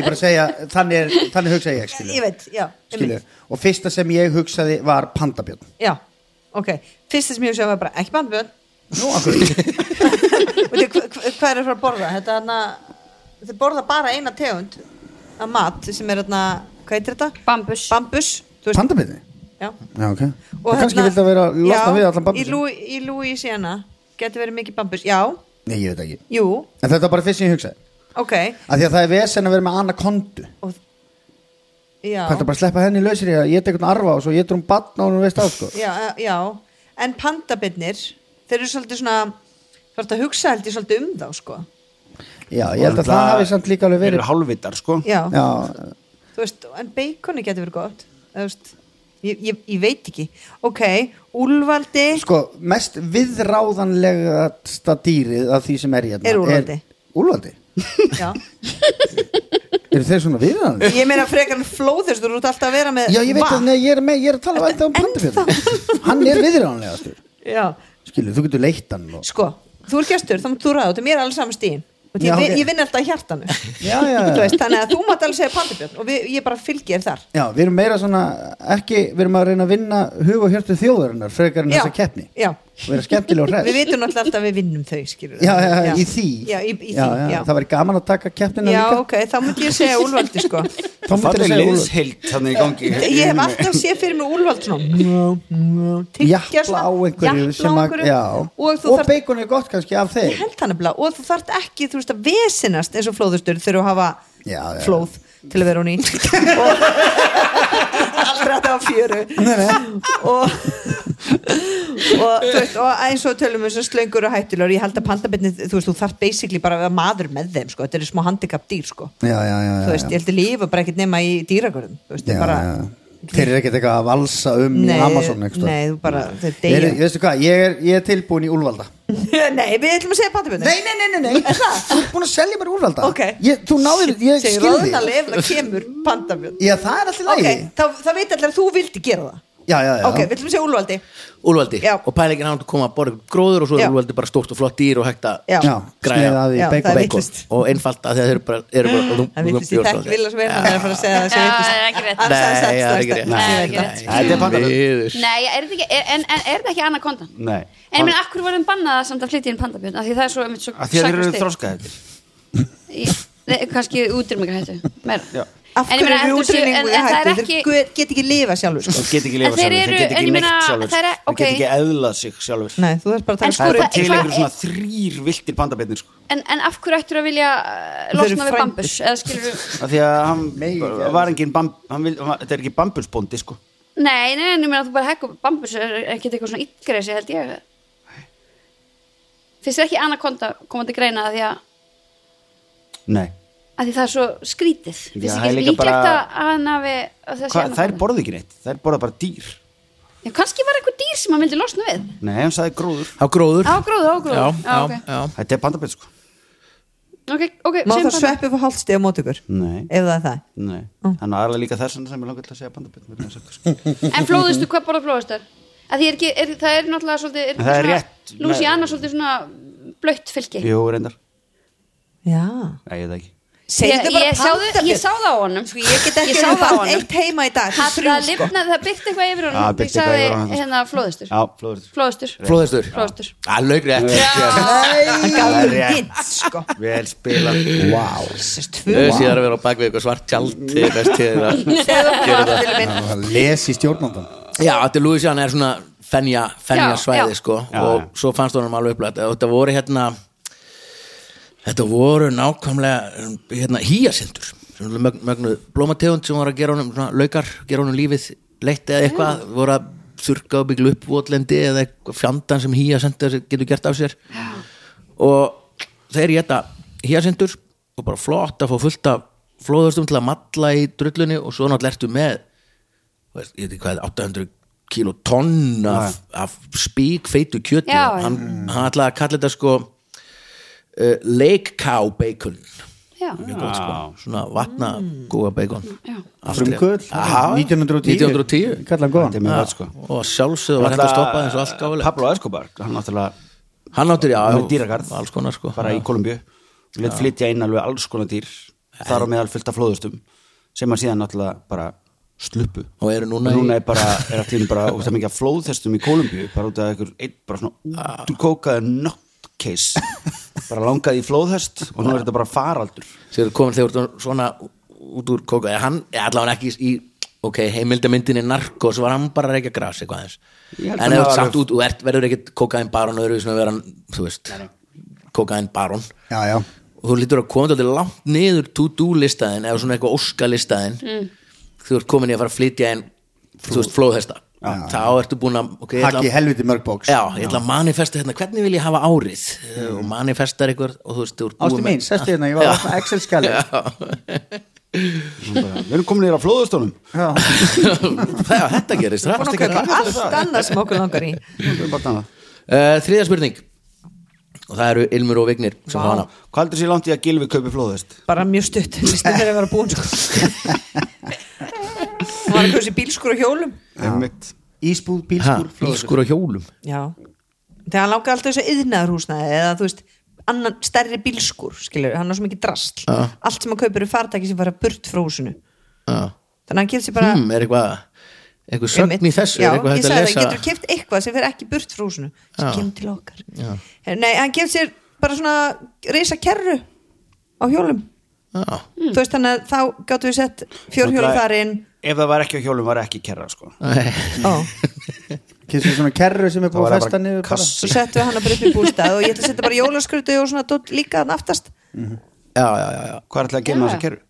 F: ég bara segja, þannig, er, þannig hugsaði ég skilur,
B: ég veit, já,
F: skilur.
B: einmitt.
F: og fyrsta sem ég hugsaði var pandabjörn
B: já, ok fyrsta sem ég hugsaði var bara, ekki bandbjörn
F: nú, akkur
B: hvað er það að borða þetta er hann þið borða bara eina tegund af mat sem er hérna, hvað heitir þetta?
E: Bambus
B: bambus, þú veist,
F: pandabjörni?
B: já
F: já, ok
B: Og
F: og kannski
B: hérna-
F: vildi að vera, losna
B: Já,
F: við allan
B: í,
F: pandabjörn
B: Lou- í Louisiana getur verið mikið bambus, já,
F: nei, ég veit ekki
B: jú,
F: en þetta var bara fyrst sem ég hugsaði
B: ok
F: af því að það er vesen að vera með anakondu
B: og, já,
F: hvað er bara að sleppa henni lausir í að ég eitthvað arfa og svo ég hún batna og hún veist að sko
B: já, eh, já en pandabinnir, þeir eru svolítið svona þú ert að hugsa held ég svolítið um þá sko,
F: Já, ég held að það hafi samt líka alveg
C: Eru
F: verið
C: hálfvitar sko
B: já,
F: Já,
B: þú veist en baconi getur verið gott þú veist, ég, ég, ég veit ekki ok, úlvaldi
F: sko, mest viðráðanlegasta dýrið af því sem er hérna
B: Er úlfaldi.
F: Úlvaldi?
B: já,
F: Eru þeir svona viðráðanlegir?
B: ég meina frekar en flóðist þú ert alltaf að vera með
F: Já, ég veit
B: vatn.
F: að nei, ég er, með, ég er að tala ennþá um pandafjörn Hann er viðráðanlegastur
B: já,
F: Skilur, þú getur leitt hann og...
B: sko, þú er gestur, þá mátt þú ræða út um ég er alls saman stíðin Og ég,
F: Já,
B: okay.
F: ok.
B: ég vinn alltaf í hjartanu
F: Já, já, já.
B: Þú veist, þannig að þú mátt alveg segja pandibjörn og við, ég bara fylgi þér þar
F: Já, við erum meira svona, ekki, við erum að reyna að vinna hug og hjörtu þjóðarinnar frekar en
B: Já.
F: þessa keppni
B: Já.
F: og vera skemmtileg og
B: við
F: hress
B: vitum náttúrulega alltaf að við vinnum þau skilur
F: já, já, já, í því
B: já, í, í því,
F: já, já.
B: já.
F: það væri gaman að taka keppnina
B: já,
F: líka
B: ok, þá myndi ég segja úlvaldi sko
F: þá myndir
C: Falleg
F: að segja Úlfur
C: liðsheild þannig í gangi
B: ég hef alltaf séð fyrir mig úlvald svona tyggja
F: jafla á einhverju
B: japla á
F: sem að,
B: einhverju
F: já
B: og þú þarf
F: bacon er gott kannski af
B: ég
F: þeim
B: held hann nefnilega og þú þarft ekki, þú veist að vesinast eins og flóðustur þurfa að hafa
F: Já, já.
B: flóð til að vera hún í og aldrei að það var fjöru og og þú veist og eins og tölum við svo slöngur og hættulegur ég held að pandabitni, þú veist, þú þarft basically bara að vera maður með þeim, sko, þetta eru smá handicap dýr sko,
F: já, já, já,
B: þú veist,
F: já,
B: ég held að lífa bara ekkert nema í dýragörðum, þú veist,
F: já,
B: bara
F: já. þeir eru ekkert eitthvað að valsa um í Amazon
B: nei,
F: eitthvað
B: nei, þú bara, þeir
F: Ég,
B: deyja
F: veistu hvað, ég er, ég er tilbúin í Úlvalda
B: nei, við ætlum að segja pandabitni
F: Nei, nei, nei, nei, nei. Þú ert búin að selja mér Úlvalda
B: Ok.
F: ég, Þú náður, ég
B: Segir
F: skilði
B: roðnali ef það kemur pandabjörn
F: Já, það er allir
B: Ok,
F: lægi
B: þá, þá veit allir að þú vildi gera það
F: Já, já, já
B: Ok, við ætlum að segja Úlvaldi
A: Úlvaldi
B: Já.
A: og pælingin hann koma að borða ykkur gróður og svo
B: Já.
A: er Úlvaldi bara stórt og flott dýr og hægt að
B: Já.
F: Já,
A: Græja.
F: sneiða að því
B: Já, það
F: bacon
B: er
A: bacon
B: vitlaust.
A: og einfalt að þeir eru bara, eru bara
B: Það villist ég þekk vilja sem er Það er að fara að segja það sem
E: Já,
B: villist
E: það er ekki rétt.
A: Nei, það er ekki rétt.
E: Nei,
C: þetta er pandabjörn.
A: Viður.
E: Nei, er þetta ekki, er, en, en er þetta ekki anakondan?
C: Nei.
E: En ég meina, akkur vorum bannað samt að flytja inn pandabjörn af því það er svo, einmitt, svo
C: að því að þeir eru
E: sakrasti.
C: þroskaðir
E: Ég- Nei, kannski útrýmingar hættu meira
C: Já.
B: Af hverju eru útrýningu í
E: það er
B: hættu?
E: ekki
B: Þeir get ekki lifa sjálfur sko.
C: þeir get ekki
E: En
C: lifa
E: þeir
C: sjálfur,
E: eru-
C: þeir get
E: en
C: ekki
E: ég
C: neitt
E: meina,
C: sjálfur
E: það er-
C: þeir get
E: ok.
C: ekki eðlað sig sjálfur
B: Nei, þú þarf bara að um
E: En
B: taka
E: sko,
C: það
B: skori
C: eru
E: það-
C: til
E: hvað
C: einhverjum
E: er-
C: svona þrýr viltir pandabirnir sko.
E: en, en af hverju ættur að vilja eh,
B: Þeir
E: losna
B: eru
E: við
B: frændur.
E: bambus eða skilur
C: af því að hann
F: Megi ekki eðla
C: var engin bamb, hann vil, hann, var- þetta er ekki bambusbóndi sko.
E: nei, nei, en ég meina þú bara hekku bambus er ekkert eitthvað svona ytgresi held ég finnst þér ekki anakonda komandi greina að því að,
C: nei
E: að því það er svo skrítið
C: Já,
E: finnst
C: það er
E: þér ekki
C: líka
E: líklegt
C: bara-
E: að hann hafi að það sé
C: Hva, þær
E: anakonda?
C: borðu ekki neitt, þær borða bara dýr
E: Já, kannski var eitthvað dýr sem hann vildi losna við
C: nei, hann sagði gróður,
A: á gróður
E: á gróður, á gróður
A: já,
E: Já,
A: já,
E: ok.
A: já.
C: þetta er pandabirn sko.
E: ok, ok,
B: Má
E: segjum
B: það
E: bara.
B: sveppi fyrir hálfstíð á mót ykkur
C: nei,
B: Ef það er það
C: nei hann er aðalega líka þess vegna sem ég langar til að segja pandabirn sko.
E: En flóðustu, hvað borða flóðustar? Að því er ekki, er, það er náttúrulega svolítið er
C: Það er rétt.
E: Lúsiana svolítið svona blött fylki
C: jú, reyndar,
B: Já
C: nei, ég veit það ekki
E: Ég,
B: Segðu bara
E: ég, sá, þau- ég
B: pandabjörn
E: sá það á honum sko, ég,
B: Get
E: ég
B: ekki
E: sá
B: verið
E: það á
B: bara
E: honum
B: eitt heima í dag
E: Það,
B: Þrjú
E: það,
B: sko
E: lifnaði, það byrti eitthvað yfir
C: Já,
E: honum
C: birti
E: Ég sagði
C: eitthvað yfir honum. sko.
E: hérna flóðustur
C: já, sko. flóður,
E: Flóðustur
A: Flóðhestur?
E: Flóðhestur.
A: að laugrétt
B: Hann gaf
C: Það er
B: mér
C: rétt.
B: hint sko
C: vel spilað wow.
B: Þessast tvö
A: síðan að vera á bak við eitthvað svart tjald til best til það
B: Segðu það
A: Gerðu
B: bara
A: það.
B: til minn
F: Les í stjórnandan
A: já, þetta Louisiana er svona fenja, fenja
E: Já, já.
A: svæði sko
C: Já,
A: og
C: já.
A: svo fannst honum alveg upplætt þetta voru hérna þetta voru nákvæmlega hérna hýjasendur mögnu blómategund sem voru að gera honum svona, laukar, gera honum lífið leitt eða eitthvað voru að þurka og byggla upp votlendi eða eitthvað fjandan sem hýjasendur getur gert af sér og þeir geta hýjasendur og bara flott að fá fullt af flóðastum til að matla í drullunni og svo náttúrulega ertu með þú veist, ég veit ekki hvað, 800 kilotonn af, af spík feitu kjöti
E: Já, já.
A: hann, hann ætlaði að kalla þetta sko uh, lake cow bacon
E: Já,
A: Mjög
C: Ah.
A: gott, sko. svona vatna góða bacon
E: já
F: Frumkvöld,
A: Aha. 1910.
F: Kallan góðan
C: þetta er mjög gott sko
A: og sjálfsögðu var hægt að stoppa þessu allt gáfulegt
C: Pablo Escobar, hann náttúrulega
A: hann áttur, já,
C: með dýragarð
A: alls konar sko
C: bara í Kolumbju og let flytja inn alveg alls konar dýr þar á meðal fullt af flóðustum sem að síðan náttúrulega bara sluppu
A: Og eru núna í-
C: er bara, er allir bara út af mikið af flóðhestum í Kolumbju bara út af einhver, einn bara svona útkókaði nutcase bara langaði í flóðhest og nú er þetta bara faraldur
A: sem eru komin þegar þú ert svona út úr kóka eða hann, eða allavega ekki í ok, heimildamyndinni narkos var hann bara að reykja gras eitthvað aðeins
C: Ég held
A: en
C: að
A: eða
C: maður-
A: samt út, þú ert, verður ekkit kókaðin barón öðru sem að vera, hann, þú veist kókaðin barón
F: Já, já
A: og þú lítur að koma þetta langt niður to-do listaðin eða svona eitthvað óska listaðin
C: Mm.
A: þú ert komin í að fara að flytja en þú veist, flóðhesta þá ertu búin að okay, ég ætla-
F: Takk í helviti mörg bóks
A: Já, ég ætla að manifesta hérna, hvernig vil ég hafa árið mm. og manifestar ykkur og þú veist, þú ert búin
F: Ástu mín, sestu hérna, ég var að Excel skjali
C: Svona bara, við erum komin nýra flóðustónum
A: Já, þetta gerist
B: Búin
A: hratt
B: að kaupa allt annað sem okkur langar í
C: hvað
A: uh, Þriðja spurning og það eru Ilmur og Vignir sem
B: Vá.
A: wow. hana
C: heldur sér langt í að Gilvi kaupi flóðhest?
B: bara mjög stutt listin þegar ég var að búin sko hún var að kausa í bílskur og hjólum
C: Einmitt.
F: Ísbúð,
A: ha,
F: bílskúr, flóður
A: Ískur á hjólum
B: já þegar hann langaði alltaf þessu yðnaðarhúsnaði eða þú veist annan, stærri bílskur skilur, hann á svo mikið drasl
A: Já.
B: allt sem hann kaupir er fartæki sem fara burt frá húsinu
A: Já.
B: þannig að hann getur sér bara
A: hmm, er eitthvað eitthvað sögn í
B: Einmitt.
A: þessu
B: já,
A: er eitthvað hægt
B: ég
A: að
B: sagði það,
A: lesa
B: getur keft eitthvað sem fer ekki burt frá húsinu sem
A: Já.
B: kemur til okkar
A: Já.
B: nei, hann gefur sér bara svona reysa kerru á hjólum
A: Já.
B: þú veist þannig að þá gáttum við sett fjórhjóla
C: Náttúrulega-
B: þar inn
C: ef það var ekki á hjólum var ekki kerra sko.
A: Eh,
B: Ó,
F: Kynstu svona kerru sem er
C: það
F: búið
C: var
F: að festa niður bara
B: svo settum við hann bara upp í bústað og ég ætla að setja bara jólaskrutu og svona dótt líka þannig aftast
A: Já, já, já, já.
C: hvað er alltaf að gema þessa kerru?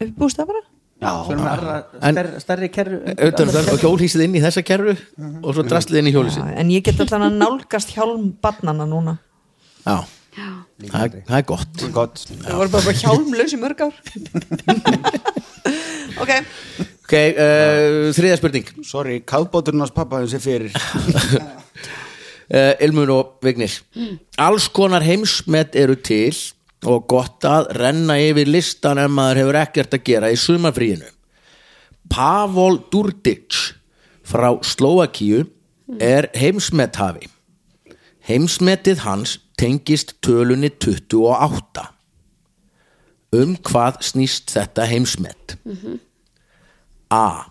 B: upp í bústað bara
C: Já,
F: Svona aðra
A: En-
F: stærri, stærri kerru
A: Utan, um það, og hjólhísið inn í þessa kerru og svo draslið inn í hjólhísið
B: já, en ég get alltaf að nálgast hjálm barnana núna
A: Já, það er- það er gott
C: gott
B: það voru bara, bara hjálmlaus í mörg ár ok,
A: Ok, uh, þriðja spurning
C: sorry, kafbáturinn hans pappa þessi fyrir
A: uh, Ilmur og Vignir Alls konar heimsmet eru til og gott að renna yfir listan ef maður hefur ekkert að gera í sumafríinu Pavol Durdic frá Slóakíu er heimsmethafi Heimsmetið hans tengist tölunni 28 Um hvað snýst þetta heimsmet? A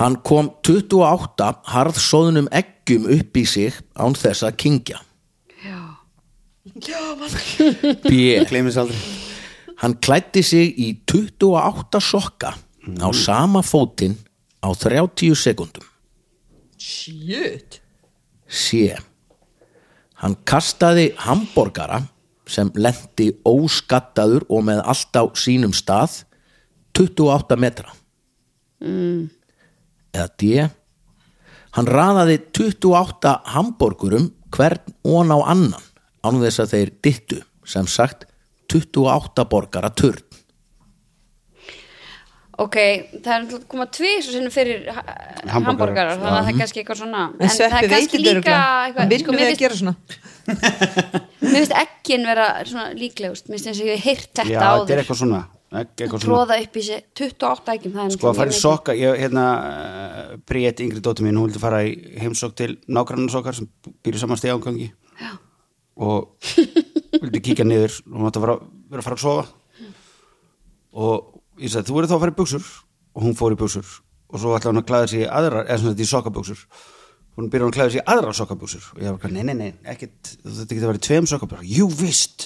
A: Hann kom 28 harðsóðnum eggjum upp í sig án þess að kingja. Já. Já, B.
F: Gleimis aldrei
A: Hann klætti sig í 28 sokka á sama fótinn á 30 sekundum.
B: shit
A: C. Hann kastaði hambúrgara sem lendi óskattaður og með allt á sínum stað 28 metra. Eða D. Hann raðaði 28 hambúrgurum hvern ón á annan án þess að þeir dittu sem sagt 28 borgara turn.
E: ok, það er náttúrulega að koma tvið svo sinnum fyrir ha-
C: Hamborgarar.
E: hamborgarar þannig að það er kannski eitthvað svona en það
B: Sveppi
E: er
B: veit
E: kannski
B: þetta
E: líka
B: örugglega.
E: eitthvað,
B: vinnum
E: sko,
B: við
E: mér
B: að
E: finnst,
B: gera svona
E: mér finnst ekkin vera svona líklegust, mér finnst eins og ég hef heyrt þetta
C: já,
E: áður
C: þetta er eitthvað svona Ekki eitthvað svona
E: tróða upp í sig 28 ekkim það er
C: Sko að fara í
E: náttúrulega
C: sokka, ég, hérna uh, Bríett, yngri dóttir mín, hún vildi fara í heimsokk til nágrannars okkar sem býr í saman stegangangi og vildi kíkja niður hún átti að fara, vera að fara að sofa og ég sagði, þú verður þá að fara í buksur og hún fór í buksur og svo ætlaði hún að klæða sig í aðra, eða svona þetta í sokkabuksur hún byrja hún að klæða sig í aðra sokkabuksur og ég var, nei, nei, nei, ekkit þetta getur að vera í tveim sokkabuksur, jú vist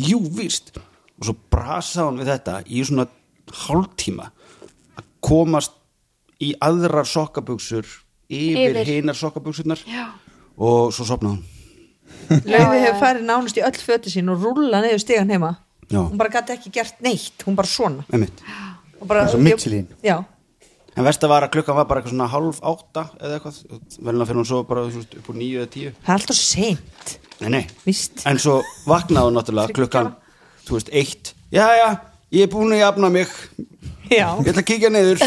C: jú vist og svo brasaði hún við þetta í svona hálftíma að komast í aðrar sokkabuksur yfir,
E: Yfir.
C: yfir. hinar sokkabuksurnar
E: Já.
C: og svo sopnaði hún
B: Lauði hefur farið nánast í öll föti sín og rúlla niður stegan heima
C: Já.
B: hún bara gæti ekki gert neitt, hún bara svona
C: einmitt
B: Og bara,
F: Eins og Michelin.
B: já,
C: En versta var að klukkan var bara eitthvað svona hálf átta eða eitthvað, velna fyrir hún svo bara þú veist, upp úr nýju eða tíu.
B: það er alltaf seint
C: Nei, nei.
B: Víst.
C: En svo vaknaði hún náttúrulega klukkan, þú veist, eitt. Já, já, ég er búin að jafna mig,
B: já,
C: ég ætla að kíkja niður.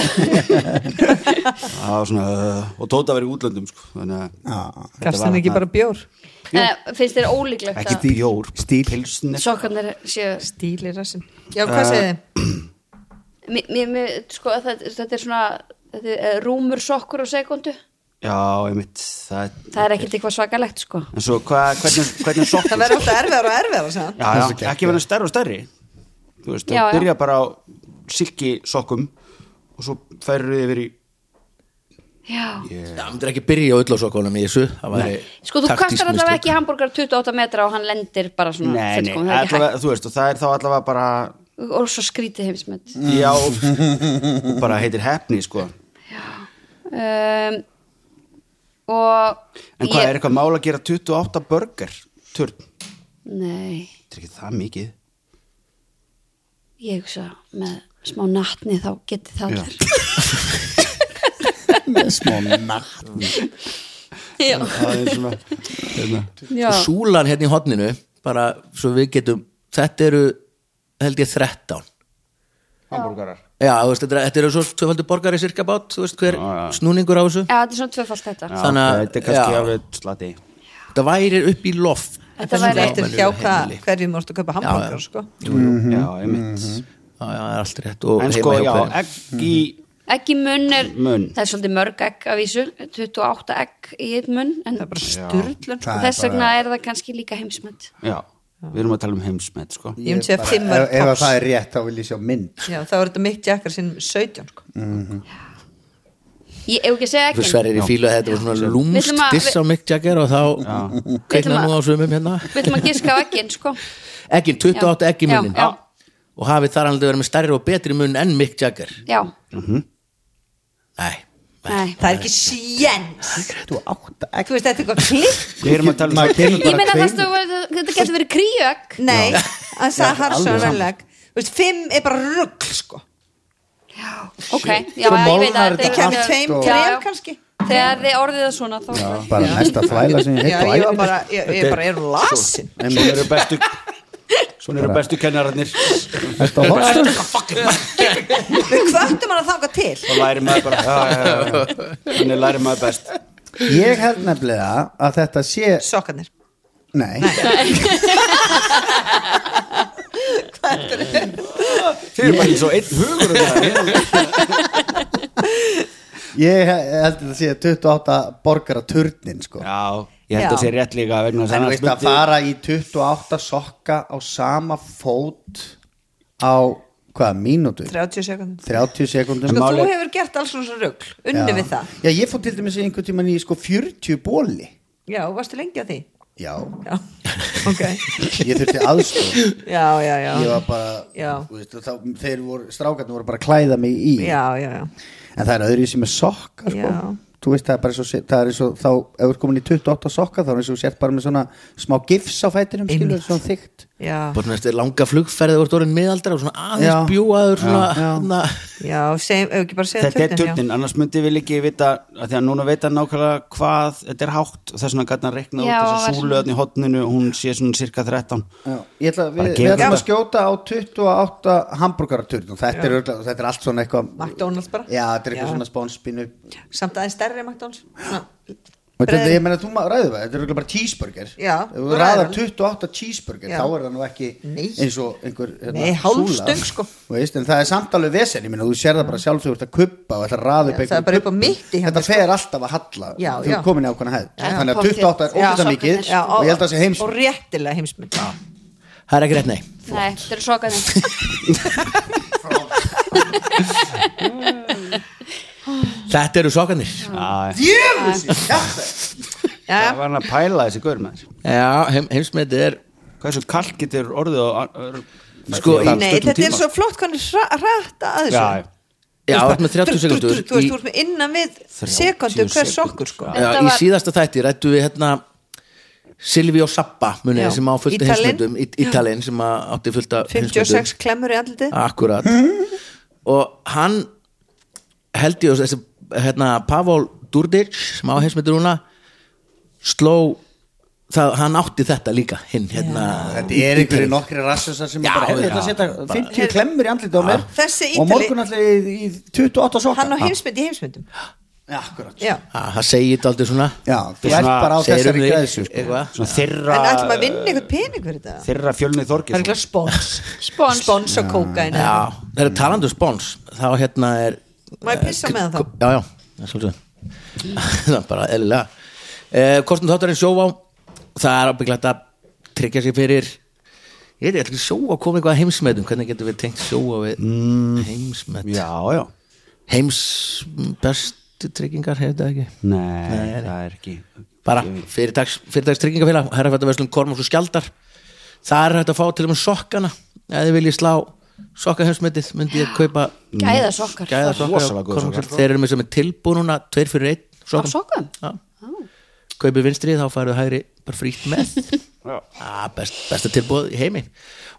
C: Það var svona, uh, og Tóta var í útlöndum, sko, þannig að... þetta
B: gafst
C: var
B: hann ekki
C: þarna
B: bara bjór
E: Nei, Eh, finnst þér ólíklegt
C: Ekki
E: að
C: bjór,
F: Stíl.
C: pilsnir.
E: sokkarnir séu
B: stíli rassin já,
C: Eh,
B: hvað segið þið?
E: mér, mér- mér, sko, þetta, þetta er svona þetta er eh, rúmur sokkur á sekundu
C: Já, einmitt, það...
E: það er ekkert eitthvað svakalegt sko
C: En svo, hva, hvernig, hvernig sokkur...
B: það verður alltaf erfiðar og erfiðar sagði hann.
C: já, já, ekki verið stærri og stærri þú veist,
E: Já,
C: það
E: já.
C: byrja bara á silki sokkum og svo færðu þið yfir í
E: já
A: Það myndir ekki byrja á öllasokkunum í þessu. Það væri
E: Sko, þú kastar
A: taktísk
E: allavega
A: mistök.
E: ekki hambúrgar 28 metra og hann lendir bara svona
C: nei, nei,
E: fullkomið, það er ekki
C: allavega, þú veist, og það er þá allavega bara
E: hægt og svo skrítið heimsmet
C: já, og bara heitir hefni sko. en
E: um, og
C: hvað er eitthvað mál að gera 28 börgar törn, þetta
E: Nei,
C: er ekki það mikið
E: ég hugsa með smá nattni þá geti það
C: Já.
E: allir
F: Smá natt
E: Já,
C: það er svona hérna.
E: já,
A: og súlan hérna í hotninu bara svo við getum þetta eru held ég 13
C: hambúrgarar
A: já, þú veist, þetta, eru- þetta eru svo tvöfaldur borgari cirka bát, þú veist hver
C: Já, já.
A: snúningur á þessu
E: Já, þetta er svona tvöfalt þetta
C: Já,
A: Þannig að-
C: þetta er kannski
A: já.
C: alveg slati
A: þetta væri upp í loft
E: Þetta
B: það verður
E: væri-
B: eftir hjá hvað hverjum vorstu að kaupa hambúrgar sko.
C: já, einmitt
A: já, já, það er allt rétt og
C: en
A: heima
C: sko,
A: hjá
C: já,
A: hverjum.
C: egg í
E: Egg í munn er,
C: Munn.
E: það er svolítið mörg egg af vísu, 28 egg í eitt munn, en það er bara styrlun
F: Það
E: og
F: er
E: þess vegna
F: bara-
E: er það kannski líka heimsmynd.
C: Mhm. já, við erum að tala um heimsmet sko.
B: Ég myndi segja
F: Bara-
B: fimm mörg
F: ef, ef að
B: tops.
F: það er rétt þá vil ég sjá mynd
B: Já, það var þetta Mick Jagger sinn 17 sko.
E: Ég, ef ekki að
A: Fyrir
E: segja eggin,
A: Sverrir í fílu að þetta var svona
E: Við ætlum
A: lúmst
E: að-
A: diss á Mick Jagger og þá
E: Við ætlum
A: kveikna
E: að-
A: nú á sumum hérna
E: við ætlum að giska á eggin, sko.
A: Eggin, 28
E: Já.
A: egg í munnin
E: Já, já.
A: og hafið þar alveg verið með stærri og betri munn en Mick Jagger
E: Já,
A: Nei,
E: nei.
B: Það er ekki sjens
F: þú átta egg
B: Þú veist, þetta er eitthvað klipp
C: við erum að tala um
F: Maður kemur
E: Ég
F: bara
E: meina
F: tveim-
E: það stóð, þetta getur verið kríögg.
B: Nei, það sagði Harsson velleg Þú veist, fimm er bara rugg sko.
E: Ok, já,
A: Svo
E: ég veit
A: molnar
E: að
A: þetta sko.
E: þetta
B: Ekki
E: er
B: af tveim,
E: Já, já.
B: þrem kannski
E: Þegar þið orðið það svona, þá
F: bara næsta þvæla sem ég
B: Já, ég
F: heitt á
B: var
F: æfinni
B: bara, ég, ég bara er lasin
C: svona eru bestu svona eru bestu kennararnir
F: næsta hóttur
B: Við kvöttum hann að þanga til
C: þá læri maður bara já, já, já, já. þannig læri maður best
F: ég held nefnilega að þetta sé
B: Sokkarnir
F: nei,
C: þið eru bara eins og einn hugur um það.
F: ég held að þetta sé 28 borgara turnin sko
C: já, ég held að það sé rétt líka vegna þess
F: en þú
C: annars
F: veist að
C: myndi-
F: fara í 28 sokka á sama fót á hvað mínútu
B: 30 sekundum
F: 30 sekundum
B: Sko, þú
C: Málið-
B: hefur gert alls svona rugg Unni
F: Já.
B: við það
F: já ég fór til dæmis einhvern tímann í sko 40 bóli
B: Já, varstu lengi að því?
F: já
B: Já, ok
F: ég þurfti aðstof
B: Já, já, já
F: ég var bara
B: Já.
F: þú veist, þá, þeir voru, strákarnir voru bara að klæða mig í
B: Já, já, já
F: en það er öðru sem er sokka sko.
B: Já.
F: þú veist það er bara svo, það er svo þá ef þú er komin í 28 sokka þá er eins og þú sért bara með svona smá gifs á fætinum skilur
B: Einmitt.
F: svona þygt
B: Já,
A: bara svona eftir langa flugferði voru orðin miðaldra og svona aðeins
F: Já.
A: bjúaður svona,
F: Já.
A: hérna,
B: já, segjum, ef ekki bara segja
C: þetta er
B: turnin, já.
C: turnin, annars myndi við ekki vita að því að núna veit hann nákvæmlega hvað þetta er hátt, þess vegna gætna að rekna
E: Já,
C: út þess
E: var
C: að súlu öðn í hotninu, hún sé svona cirka 13
F: Já, ég ætla, við,
C: Bara
F: við
C: gerum
F: ætlum að
C: þetta.
F: skjóta á 28 hambúrgaraturn og þetta er, örugglega- þetta er allt svona eitthvað
B: McDonald's bara.
F: Já, þetta er eitthvað
B: Já.
F: svona spónspinu
B: Samt aðeins stærri McDonalds Svona,
F: Þetta,
B: breið-
F: ég meina, þú ma- ræður það, þetta er örugglega bara cheeseburger
B: Já,
F: Ef þú
B: þú
F: ræðar
B: ræður hann.
F: 28 cheeseburger,
B: Já.
F: þá er það nú ekki
B: Nei.
F: eins og einhver hérna,
B: Nei, hálf
F: súla.
B: stöng, sko.
F: Þú veist, En það er samt alveg vesen, ég meina, þú sér það bara sjálf þú ert að kubba og ætlar að ræða
B: Já,
F: upp
B: það er
F: einhverjum
B: bara upp á
F: kubbum.
B: mitt í henni,
F: Þetta
B: sko.
F: fer alltaf að halla
B: Já,
F: Þú
B: já.
F: ert komin í ákvæmna hæð
E: Já,
F: Þannig að
E: pottþétt.
F: 28 er
E: Já,
F: ógæta mikið
E: sokkarnir.
B: já,
F: og ég held að það sé heimsmynd
B: Og réttilega heimsmynd Já,
A: það er ekki rétt nei
E: Nei, þetta eru svokaðið.
A: Þetta eru sokkarnir
C: það
F: Jöfus, þetta
B: já,
C: var hann að pæla þessi gaur með þér
A: Já, heim, heimsmeiti er
C: hvað svo kallt getur orðið á er,
A: Sko, í-
B: Nei, þetta er svo flott hvernig hrætt að þessu
C: já,
A: Já, þú ert með 30
B: Drr, drr, drr,
A: sekundur
B: Þú veist, þú
A: í,
B: ert með innan við sekundu hver sokkur sko
A: já,
E: Þetta
A: í
E: var-
A: síðasta þætti rættu við hérna Silvi og Sappa munið
B: Já.
A: þið, sem á fullt
B: Ítalinn.
A: heimsmeitum Ítalinn sem að átti fullt af
B: 56 klemmur í andlitið
A: Akkurat Og hann held ég að þessi, hérna, Pavol Durdic sem á heimsmeitur núna sló það, hann átti þetta líka hinn, hérna,
F: Þetta er einhverju nokkri rassisar sem
A: Já,
F: bara, hefur
A: já.
F: þetta að setja 50 klemmur í andlitið á mér
B: Þessi
F: og
B: Ítali-
F: morgun allir í í 28 sokka
B: Hann á heimsmynd í heimsmyndum
F: Já, Akkurat
B: Já
A: að, það segir þetta aldrei svona
F: Já, þú
C: Svona-
F: ert bara á
A: segir um
F: þessari
A: þig,
F: græðsu sko.
A: eitthvað
C: svona
B: En
C: þyrra
B: ætlum að vinna eitthvað pening fyrir þetta
C: þyrra fjölni
B: Það er
C: þorgir
B: eitthvað spons
E: Spons.
B: Spons og kókain
A: Já, það er talandu spons þá hérna er eh,
B: Má ég pissa á meðan þá?
A: Já, já, það er svolítið það er bara eðlilega eh, Kostum þáttarinn sjóvá það er ábygglegt að tryggja sig fyrir ég veit ég ætla ekki sjóvá komið eitthvað að heimsmetum hvernig getum við tengt sjóvá við mm. heimsmet
C: sko. já, já,
A: heims bestu tryggingar hefur þetta ekki
C: nei, það er ekki
A: bara fyrirtags, fyrirtags tryggingafélag herrafættaverslun Kormos og Skjaldar það er hægt að fá til og með sokkana ef þið viljið slá sokkaheimsmetið myndi ég kaupa
E: Gæða sokkar.
A: Mm. gæða
C: Rosalega góð
A: sokkar
C: sokkar.
A: þeir eru með sem er tilbúið núna tveir fyrir einn
E: Á sokkum?
A: Já. kaupið vinstrið þá færðu hægri bara frítt með
C: Já.
A: ah, best, besta tilbúið í heimi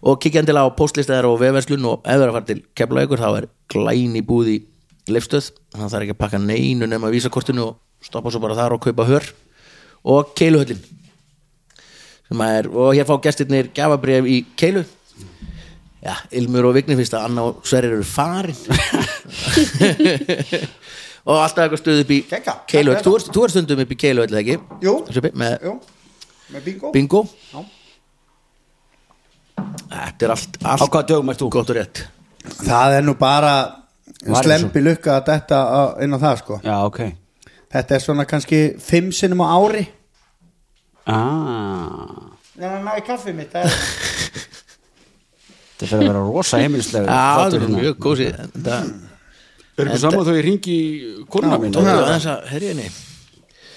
A: og kikjandi á postlistaðar og vefverslun og ef það er að fara til kefla ykkur þá er glæni búð í leifstöð þannig að það er ekki að pakka neinu nema vísakortinu og stoppa svo bara þar og kaupa hör og keiluhöllin sem að er, og hér fá gestirnir gafabref í keilu Já, Ilmur og Vigni finnst að Anna og Sverrir eru farin og alltaf eitthvað stuð upp í
F: Kekka.
A: keiluhöll, þú ert- þú er stundum upp í keiluhöll eða ekki?
F: Jú.
A: Sveppi,
C: Eh,
A: með
F: Jú, með bingo
A: bingo
F: Já.
A: Þetta er allt,
C: á
A: allt
C: hvað dögum ert þú?
A: gott og rétt
F: Það er nú bara
C: Var eins og-
F: slempi lukka að detta á- inn á það sko
C: Já, ok
F: þetta er svona kannski fimm sinnum á ári
C: ah,
F: Nei, nei, nei, kaffi mitt það er-
C: Þetta fyrir að vera rosa hérna. heimilslega
A: Já, það er mjög kósi Þetta
C: Er ekki saman þó ég ringi konuna mín
A: Tók það aðeins að herja henni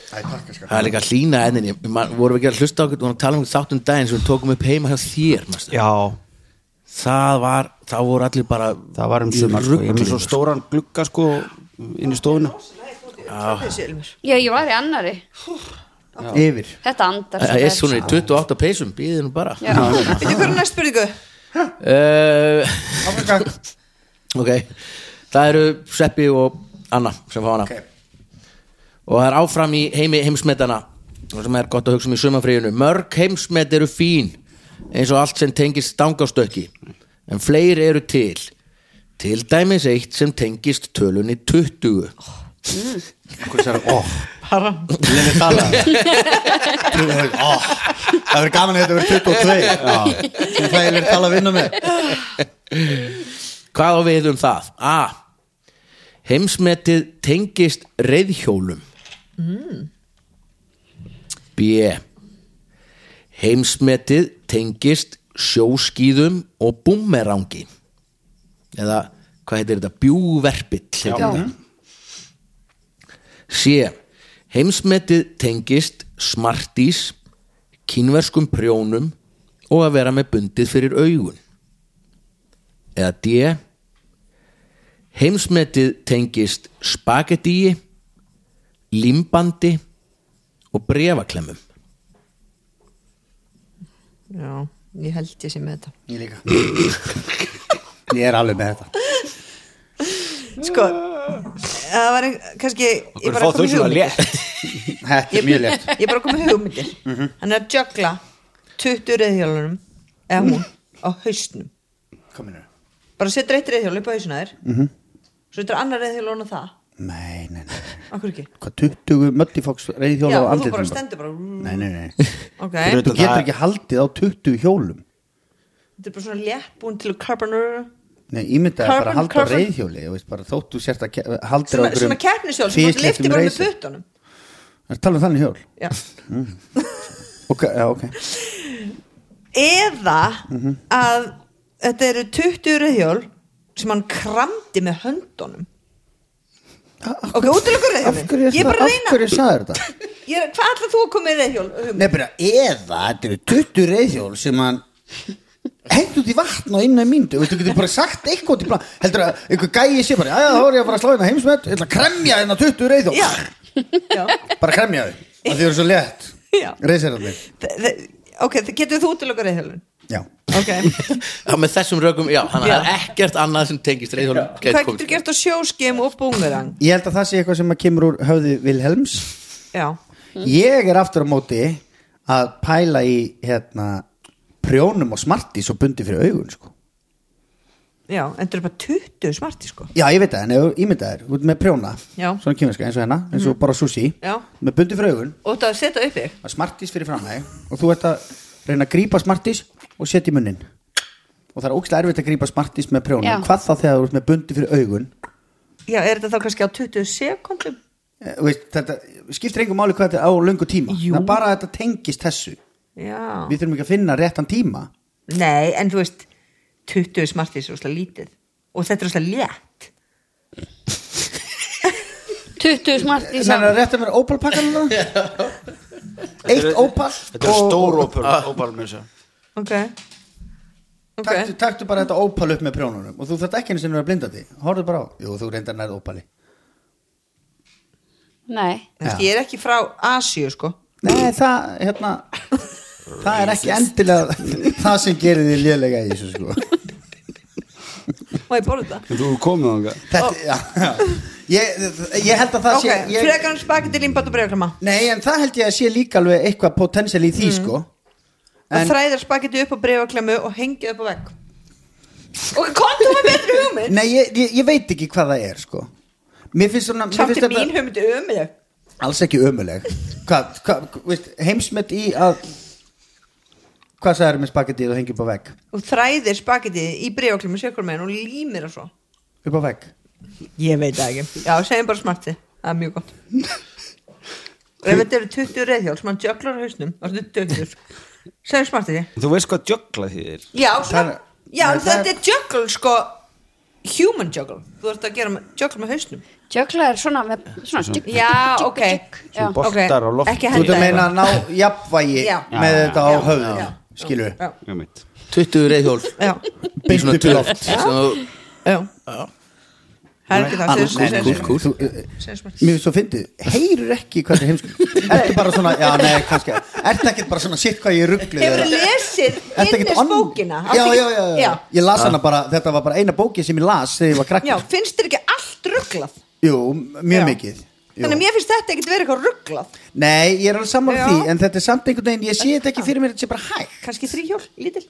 A: Það er líka að hlýna enninni Man, vorum við ekki að hlusta okkur og tala um þáttum daginn sem við tókum upp heima hjá þér manstu?
C: Já,
A: það var, þá voru allir bara
C: það var um
A: í
C: sumar sko. Ég er
A: rugli,
C: með svo
A: sko.
C: stóran glugga sko inn í stofuna
E: Já, ég var í annari
F: yfir
E: Þetta andar sko.
A: Það er svona í 28 peysum, býðið nú bara
E: Já.
B: Veitu hverju næst spurningu?
A: uh,
F: Áfram,
A: Ok, það eru Sveppi og Anna sem fá hana og það er áfram í heimi heimsmetana og sem er gott að hugsa um í sumafríðinu mörg heimsmet eru fín eins og allt sem tengist stangastökki en fleiri eru til til dæmis eitt sem tengist tölunni 20
F: Oh, Lili tala oh, Það verður gaman að þetta verður 22 sem það ég verður tala að vinna með
A: Hvað á við um það? A. Heimsmetið tengist reyðhjólum B. Heimsmetið tengist sjóskíðum og búmerangi eða hvað heitir þetta? Bjúverpill heitir
E: Já.
A: þetta. C. Heimsmetið tengist smartís kínverskum prjónum og að vera með bundið fyrir augun eða D heimsmetið tengist spagetíi limbandi og brefaklemmum
B: Já, ég held ég sé með þetta
F: Ég líka Ég er alveg með þetta
B: Sko, það var ein- kannski Ég bara kom í hugmyndir
F: Þetta er mjög létt Mhm.
B: Ég bara kom í hugmyndir Hann er að jökla 20 reyðhjálunum eða
F: Mhm.
B: hún á hausnum
F: Kom hérna.
B: bara setur eitt reyðhjálun upp á hausnum þær
F: Mhm.
B: svo setur annar reyðhjálun á það
F: Nei, nei, nei
B: Akkur ekki
F: Hvað 20 möttifóks
B: Já,
F: reyði hjóla á
B: og þú
F: andlitinu
B: bara
F: bara?
B: stendur bara
F: Nei, nei, nei
B: Ok,
C: Fyrir
B: þetta
C: utan
F: Þú getur ekki haldið á 20 hjólum
B: er bara svona létt búin til að carbonur
F: Nei, ímyndaði bara
B: Carbon,
F: að halda á
B: carbon.
F: reyðhjóli Þú veist bara þótt þú sért að ke- haldir á
B: Svona, svona
F: einhverjum
B: keppnisjól sem hann lifti
F: fisléttum
B: bara með
F: reisi.
B: puttunum
F: Ertu að tala um þannig hjól
B: Já.
F: Ok, já, ok Mhm.
B: Eða að þetta eru 20 reyðhjól sem hann kramdi með höndunum Ok, útilegur
F: Af hverju
B: reyðhjólin
F: er
B: Ég er bara
F: það-
B: að
F: af
B: reyna
F: hverju sagði þetta?
B: Ég er, Hvað ætlar þú að koma með reyðhjól? Hugmynd?
F: Nei, bara eða, þetta eru 20 reyðhjól sem hann hendur út í vatn og inn á myndu Þú getur bara sagt eitthvað til plan Heldur að einhver gæi sé bara, já, þá er ég að fara að slá hérna heimsmet Ég ætla að kremja hérna 20 reyðhjól
B: Já, já
F: Bara kremja þau, af því þau eru svo létt
B: Já.
F: Reyðsherrarnir,
B: Þe- þe- Ok, þe- getur þú útilegur reyðhjólin?
F: já
B: Ok
A: Já, með þessum rökum, já, þannig að það er ekkert annað sem tengist reyðhjólum gæti
B: Hvað
A: komist.
B: getur gert á sjóskim og búmerang?
F: Ég held að það sé eitthvað sem að kemur úr höfði Vilhelms
B: Já,
F: Ég er aftur á móti að pæla í hérna prjónum og smartis og bundi fyrir augun sko
B: já, en þetta eru bara 20 smarti sko
F: Já, ég veit það, en ef þú ímyndaðir, út með prjóna
B: Já. Mm.
F: svona kýminska eins og hennar, eins og bara sushi
B: Já.
F: með bundi fyrir augun,
B: Og þetta að setja upp þig
F: að smartis fyrir framæg og þú ert að reyna að grípa smartis og setja í munnin og það er ógstlega erfitt að grípa smartis með prjóna
E: Já.
F: hvað þá þegar þú ert með bundi fyrir augun
B: Já, er þetta þá kannski á 20 sekundum?
F: Eh, þú veist, þetta skiptir engum máli hvað þetta er á löngu tíma
B: Jú.
F: Ná, bara að þetta tengist þessu
B: Já
F: við þurfum ekki að finna réttan tíma
B: Nei, en þú veist 20 smartis er óslega lítið og þetta er óslega létt
E: 20 smart í
F: Nei,
E: saman
F: nei, réttum er ópalpakkan eitt ópal
C: Þetta er stór ópal, ópal með þessu
B: Ok,
F: Taktu, taktu bara þetta ópal upp með prjónunum og þú þarft ekki einu sinni að vera blinda því horfðu bara á, jú þú reyndar nærð ópali
E: Nei,
B: Kannski ég er ekki frá Asíu sko
F: nei það hérna það er ekki endilega það sem gerir því lélega í þessu sko
B: Má ég borða þetta?
C: En Þú komið þangað
F: þetta, já, já ég, ég held að það
B: Oh. Ok,
F: sé ég,
B: frekar hann spagetti limbat og bregðarklama
F: nei en það held ég að sé líka alveg eitthvað potential í
B: Mm.
F: því sko
B: Það þræðir spagetti upp á bregðarklamu og hengið upp á vegg Ok, kom þú með betri hugmynd
F: nei ég, ég, ég veit ekki hvað það er sko mér finnst svona mér
B: Samt
F: finnst
B: er
F: þetta-
B: mín hugmynd ömuleg
F: alls ekki ömuleg hvað, hvað, veist, heimsmet í að hvað sagður með spagettið og hengi upp á vegg
B: og þræðir spagetti í bregðarklamu sér hver meginn og límir það svo
F: upp á vegg
B: Ég veit það ekki Já, segjum bara smarti, það er mjög gott Ef þetta eru 20 reyðhjál sem hann jöklar á hausnum og þetta er 20 Segjum smarti
C: Þú veist hvað jökla þýðir
B: Já, svona,
F: Það-
B: já
F: Nei,
B: en
F: það-
B: þetta er jökl sko human jökl Þú ert að gera með- jökl með hausnum
E: Jökla er svona, með, svona tjúk, tjúk,
B: Já,
E: tjúk,
B: ok.
E: tjúk, já.
C: Svona boltar á loft
B: Ekki
F: Þú ert
B: henda
F: að meina
B: eitthvað.
F: að ná jafnvægi
B: Já.
F: með þetta á
B: Já.
F: höfðinu
B: Já.
F: skilur
B: Já.
C: Ég veit.
A: 20 reyðhjól
B: Já,
A: í svona
F: Beint upp í
A: tjöld sem
B: já Það er ekki það,
F: Annars-
B: segjum-
F: Nei,
B: segjum
F: nei,
B: smarti.
F: nei, þú- eh,
B: segjum smarti
F: Mér finnst svo fyndið Heyrur ekki hvað þetta heimsku Ertu bara svona Já, nei, kannski Ertu ekki bara svona Sitt hvað ég rugglu
B: Hefur lesið
F: Ertu ekkert
B: Guinness
F: ann-
B: bókina?
F: já,
B: Áttu
F: já,
B: ekki-
F: já, já, Ég las hana bara, þetta var bara eina bóki sem ég las þegar ég var krakki
B: Já, finnst þér ekki allt rugglað?
F: Jú, mjög
B: Já.
F: mikið
B: Þannig að
F: Jú.
B: mér finnst þetta ekkert verið eitthvað rugglað
F: Nei, ég er alveg saman
B: Já.
F: því En þetta er samt einhvern veginn, ég sé þetta ekki fyrir mér Þetta sé bara hægt
B: Kanski þrýhjól, lítil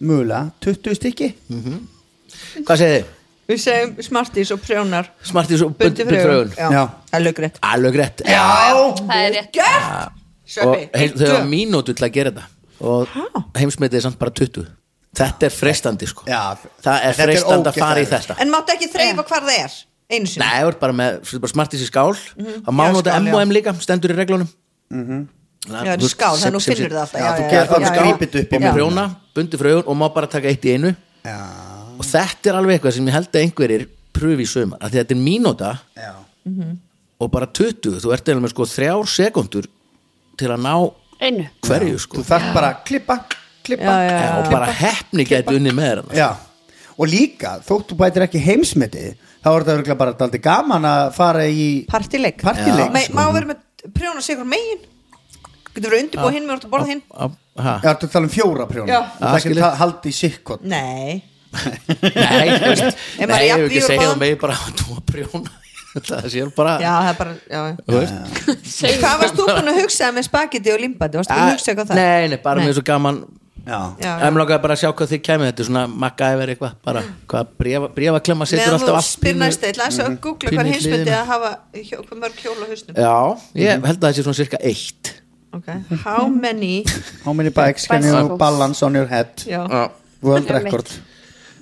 F: Mögulega, 20 stykki
A: hvað segir þið?
B: Við segjum smartís og prjónar
A: Smartís og
B: Bundi
A: bundi
B: frögun
A: frögun
F: Já.
B: Það er löggrétt
A: alveg rétt
E: Það er rétt
B: Gert! Sveppi,
A: og heil,
B: eitt
A: þau hafa
B: dög.
A: mínútu til að gera þetta og heimsmetið er samt bara 20 þetta er freistandi sko
F: Já.
A: það er
F: Þetta er
A: freistandi að
F: ógeðslega
A: fara í
F: erfitt.
A: þetta
B: En máttu ekki þreifa hvar það er Einu sinni
A: Nei, það er bara með þú ert bara smartís í skál mm -hmm. að
B: Já,
A: mánóta
B: skál, já.
A: M&M líka, stendur í reglunum
B: Já,
A: mm
B: það er skál, þannig að þú finnur það alltaf
F: Já, þú gerir það með grípið upp í
A: og
F: Já.
A: prjóna, bundi frögun og má bara taka eitt í einu
F: Já,
A: og þetta er alveg eitthvað sem ég held að einhverjir pröfi í sömur, af því þetta er mínúta
F: já
A: og bara 20, þú ert eða með sko þrjár sekundur til að ná
E: Einu
A: hverju sko
F: Þú þarf bara að klippa, klippa
B: Já, já, já.
A: og bara hefni gæti unni með þér þarna.
F: Já, og líka þóttu bætir ekki heimsmetið þá er þetta örgulega bara daldi gaman að fara í
B: Partileik
F: Partyleik,
B: Me-
F: sko.
B: Má vera með prjónar sigur megin Getur verið undirbúið hinn með orðið að borða hinn
A: Á- ha.
F: Já, ertu að tala um fjóra prjónu
B: Já.
F: og það ekki að haldi í sikkot
B: Nei
A: Nei, þú veist,
B: Ef maður
A: nei,
B: er
A: ég
B: jafn
A: hef ekki
B: vígur
A: segja
B: báðum.
A: það með bara að þú að prjóna það sé bara
B: Já, það er bara já.
A: þú veist
B: Hvað varst þú búin að hugsa með spagetti og limbandi? Varst þú búin að hugsa eitthvað það?
A: Nei, nei, bara mér er svo gaman
F: Já,
B: Já, já.
A: Ef mér langaði bara að sjá hvað þið kæmi Þetta er svona MacGyver eitthvað bara, Hvað bréfa- bréfaklemma setur
B: Meðan
A: alltaf
B: þú
A: allt
B: spyr
A: pínu-
B: næst eitthvað Það er að googla hvað
A: pínu í
B: hinsmyndi
A: hliðina.
B: að hafa hjó- hvað mörg hjól á hausnum
A: Já,
B: Mhm.
A: ég held að það sé svona cirka eitt
B: okay. How many
F: how many bikes can you
E: Bicycles.
F: balance on your head
B: Já,
A: Já,
F: world
E: Það er mitt.
F: record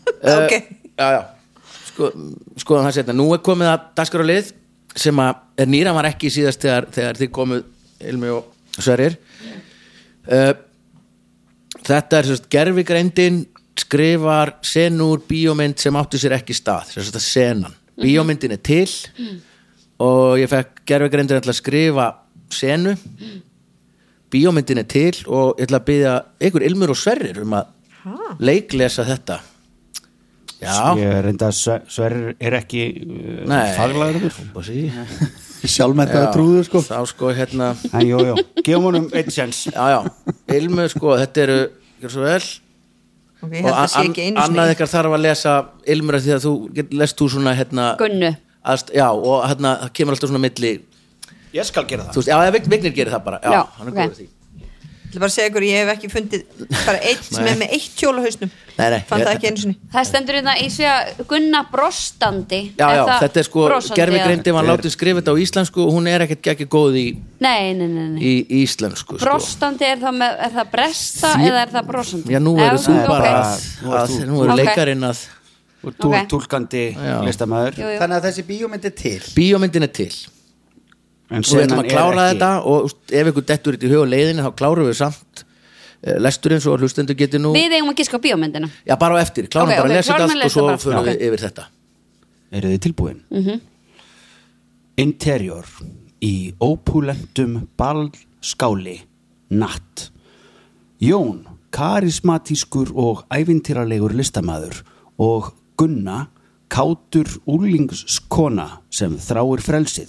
A: Eh,
B: ok
A: já, já. Sko, Skoðan það setna Nú er komið að daskar og lið sem að er nýra var ekki síðast þegar, þegar þið komuð Ilmi og Sverir uh, Þetta er sérst gerfigreindin skrifar senur bíómynd sem átti sér ekki stað sérst að senan, bíómyndin er til og ég fekk gerfigreindin ætla að skrifa senu bíómyndin er til og ég ætla að byggja ykkur Ilmur og Sverrir um að leiklesa þetta Já,
C: Ég reynda að Sverrir er ekki uh,
A: nei
C: faglæður
F: Sjálfmettaði trúður sko
A: Þá sko hérna
C: En jú, jú, gefum honum einn sens
A: Já, já, Ilmur sko, þetta eru gjör svo vel
B: Ok, ég held að það sé ekki einu
A: annað
B: sinni
A: ykkar þarf að lesa Ilmur af því að þú get- lest þú svona hérna
E: Gunnu
A: aðst, Já, og hérna það kemur alltaf svona milli
C: Ég skal gera
A: Þú veist, já, eða Vig- Vignir gerir það bara Já,
E: Já,
A: hann er
E: ok.
A: góður í því
B: Ég ætla bara að segja ykkur, ég hef ekki fundið bara eitt sem er með eitt hjól á hausnum
A: Nei, nei,
B: Fann
A: ég-
B: það ekki einu sinni
E: Það stendur hérna í því að Gunna brostandi
A: Já,
E: Er
A: já,
E: það
A: þetta er sko,
E: brosandi
A: gerfi
E: eða-
A: greindi var látið skrifa þetta á íslensku og hún er ekkert ekki góð í,
E: Nei, nei, nei, nei.
A: í íslensku sko.
E: Brostandi er það, með, er það bresta eða er það brosandi?
A: Já, nú
E: Ef-
A: eru þú
E: ok.
A: bara að,
C: Nú ert
A: að,
C: þú.
A: nú eru
E: Ok.
A: leikarinn að
C: Og tú
E: Ok.
C: er túlkandi
A: Já.
C: listamæður
E: Jú, jú.
F: Þannig að þessi bíómynd er til
A: bíómyndin er til
C: En
A: og við ætlum
C: senan
A: að
C: er
A: klára
C: ekki
A: þetta og úst, ef ykkur dettur þetta í hug og leiðinu þá klárum við samt eh, lesturinn svo að hlustendur geti nú
E: Við eigum að gíska á bíómyndina
A: já bara á eftir, klárum
E: Ok,
A: bara
E: ok,
A: að lesa
E: klárum
A: þetta
E: að
A: allt og
E: lesa
A: svo
E: bara.
A: förum
E: Já.
A: við yfir þetta
C: Eru þið tilbúin? Mm -hmm. Interior í ópúlentum ballskáli natt Jón, karismatískur og ævintýralegur listamaður og Gunna, kátur úlingskona sem þráir frelsið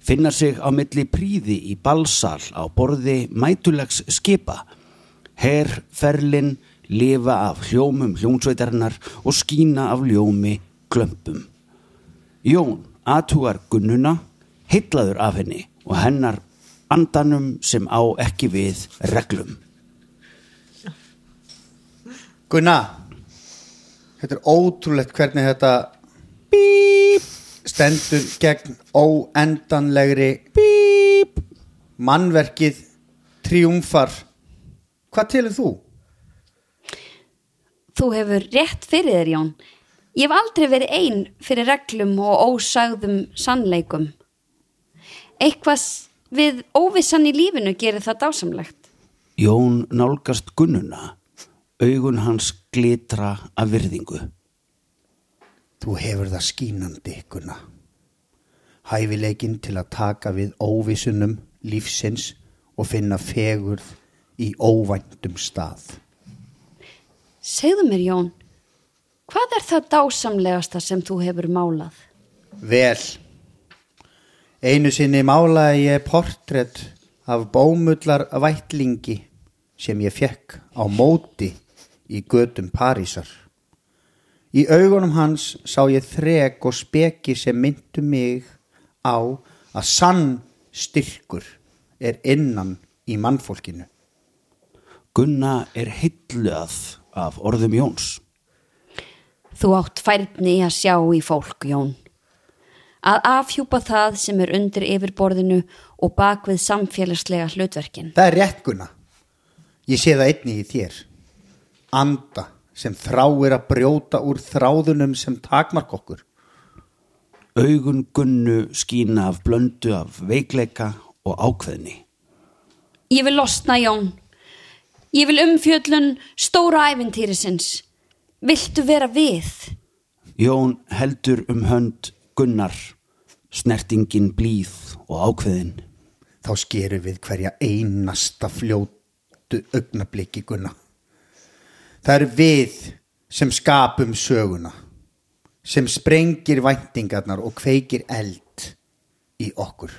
C: finna sig á milli príði í ballsal á borði mætulegs skipa herrferlin lifa af hljómum hljómsveitarinnar og skína af ljómi klömpum Jón aðtúar Gunnuna, heitlaður af henni og hennar andanum sem á ekki við reglum.
F: Gunna Þetta er ótrúlegt hvernig þetta Bíp Stendur gegn óendanlegri Bíp Mannverkið Triumfar Hvað telur þú?
E: Þú hefur rétt fyrir þér, Jón ég hef aldrei verið ein fyrir reglum og ósagðum sannleikum eitthvað s- við óvissan í lífinu gerir það dásamlegt
C: Jón nálgast gunnuna augun hans glitra af virðingu
F: Þú hefur það skínandi ykkurna. Hæfileikin til að taka við óvisunum lífsins og finna fegurð í óvæntum stað.
E: segðu mér Jón hvað er það dásamlegasta sem þú hefur málað?
F: Vel. Einu sinni málaði ég portrétt af bómullar vætlingi sem ég fekk á móti í götum Parísar. Í augunum hans sá ég þrek og speki sem myndu mig á að sann styrkur er innan í mannfólkinu.
C: Gunna er heilluð af orðum Jóns
E: Þú átt færni í að sjá í fólk, Jón. Að afhjúpa það sem er undir yfirborðinu og bak við samfélagslega hlutverkin.
F: Það er rétt Gunna. Ég sé það einni í þér. Anda sem þráir að brjóta úr þráðunum sem takmark okkur.
C: augun gunnu skína af blöndu af veikleika og ákveðni
E: Ég vil losna, Jón. Ég vil umfjöllun stóra ævintýrisins. Viltu vera við?
C: Jón heldur um hönd Gunnar snertingin blíð og ákveðin
F: Þá skerum við hverja einasta fljótu augnabliki Gunna. Það eru við sem skapum söguna, sem sprengir væntingarnar og kveikir eld í okkur.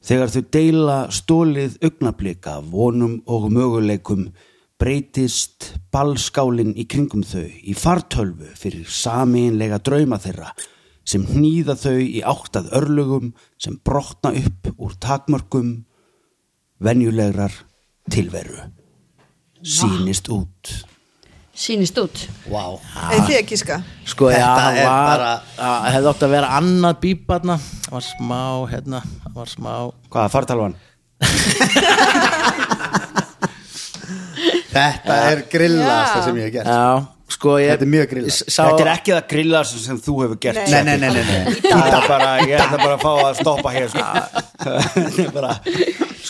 C: Þegar þau deila stólið augnablika af vonum og möguleikum breytist ballskálin í kringum þau í fartölvu fyrir sameinlega drauma þeirra sem hnýða þau í áttað örlögum sem brotna upp úr takmörkum venjulegrar tilveru. Sýnist út.
E: Sýnist út.
F: Vá.
A: Ah.
B: eða því að kíska
A: Sko,
F: Þetta
A: já, hann
F: er
A: var, bara...
F: bara-
A: hefði átt að vera annað bíp hann var smá, hérna, hann var smá
C: Hvaða fartölvan?
F: Þetta er grillast það sem ég hef gert.
A: Já, sko, ég
F: Þetta er mjög grillað.
A: s- sá-
C: Þetta er ekki það grilla sem þú hefur gert
F: Nei, nei, nei, nei, nei.
C: Ég ætla bara, ég ætla bara að fá að stoppa hér sko. Þetta er bara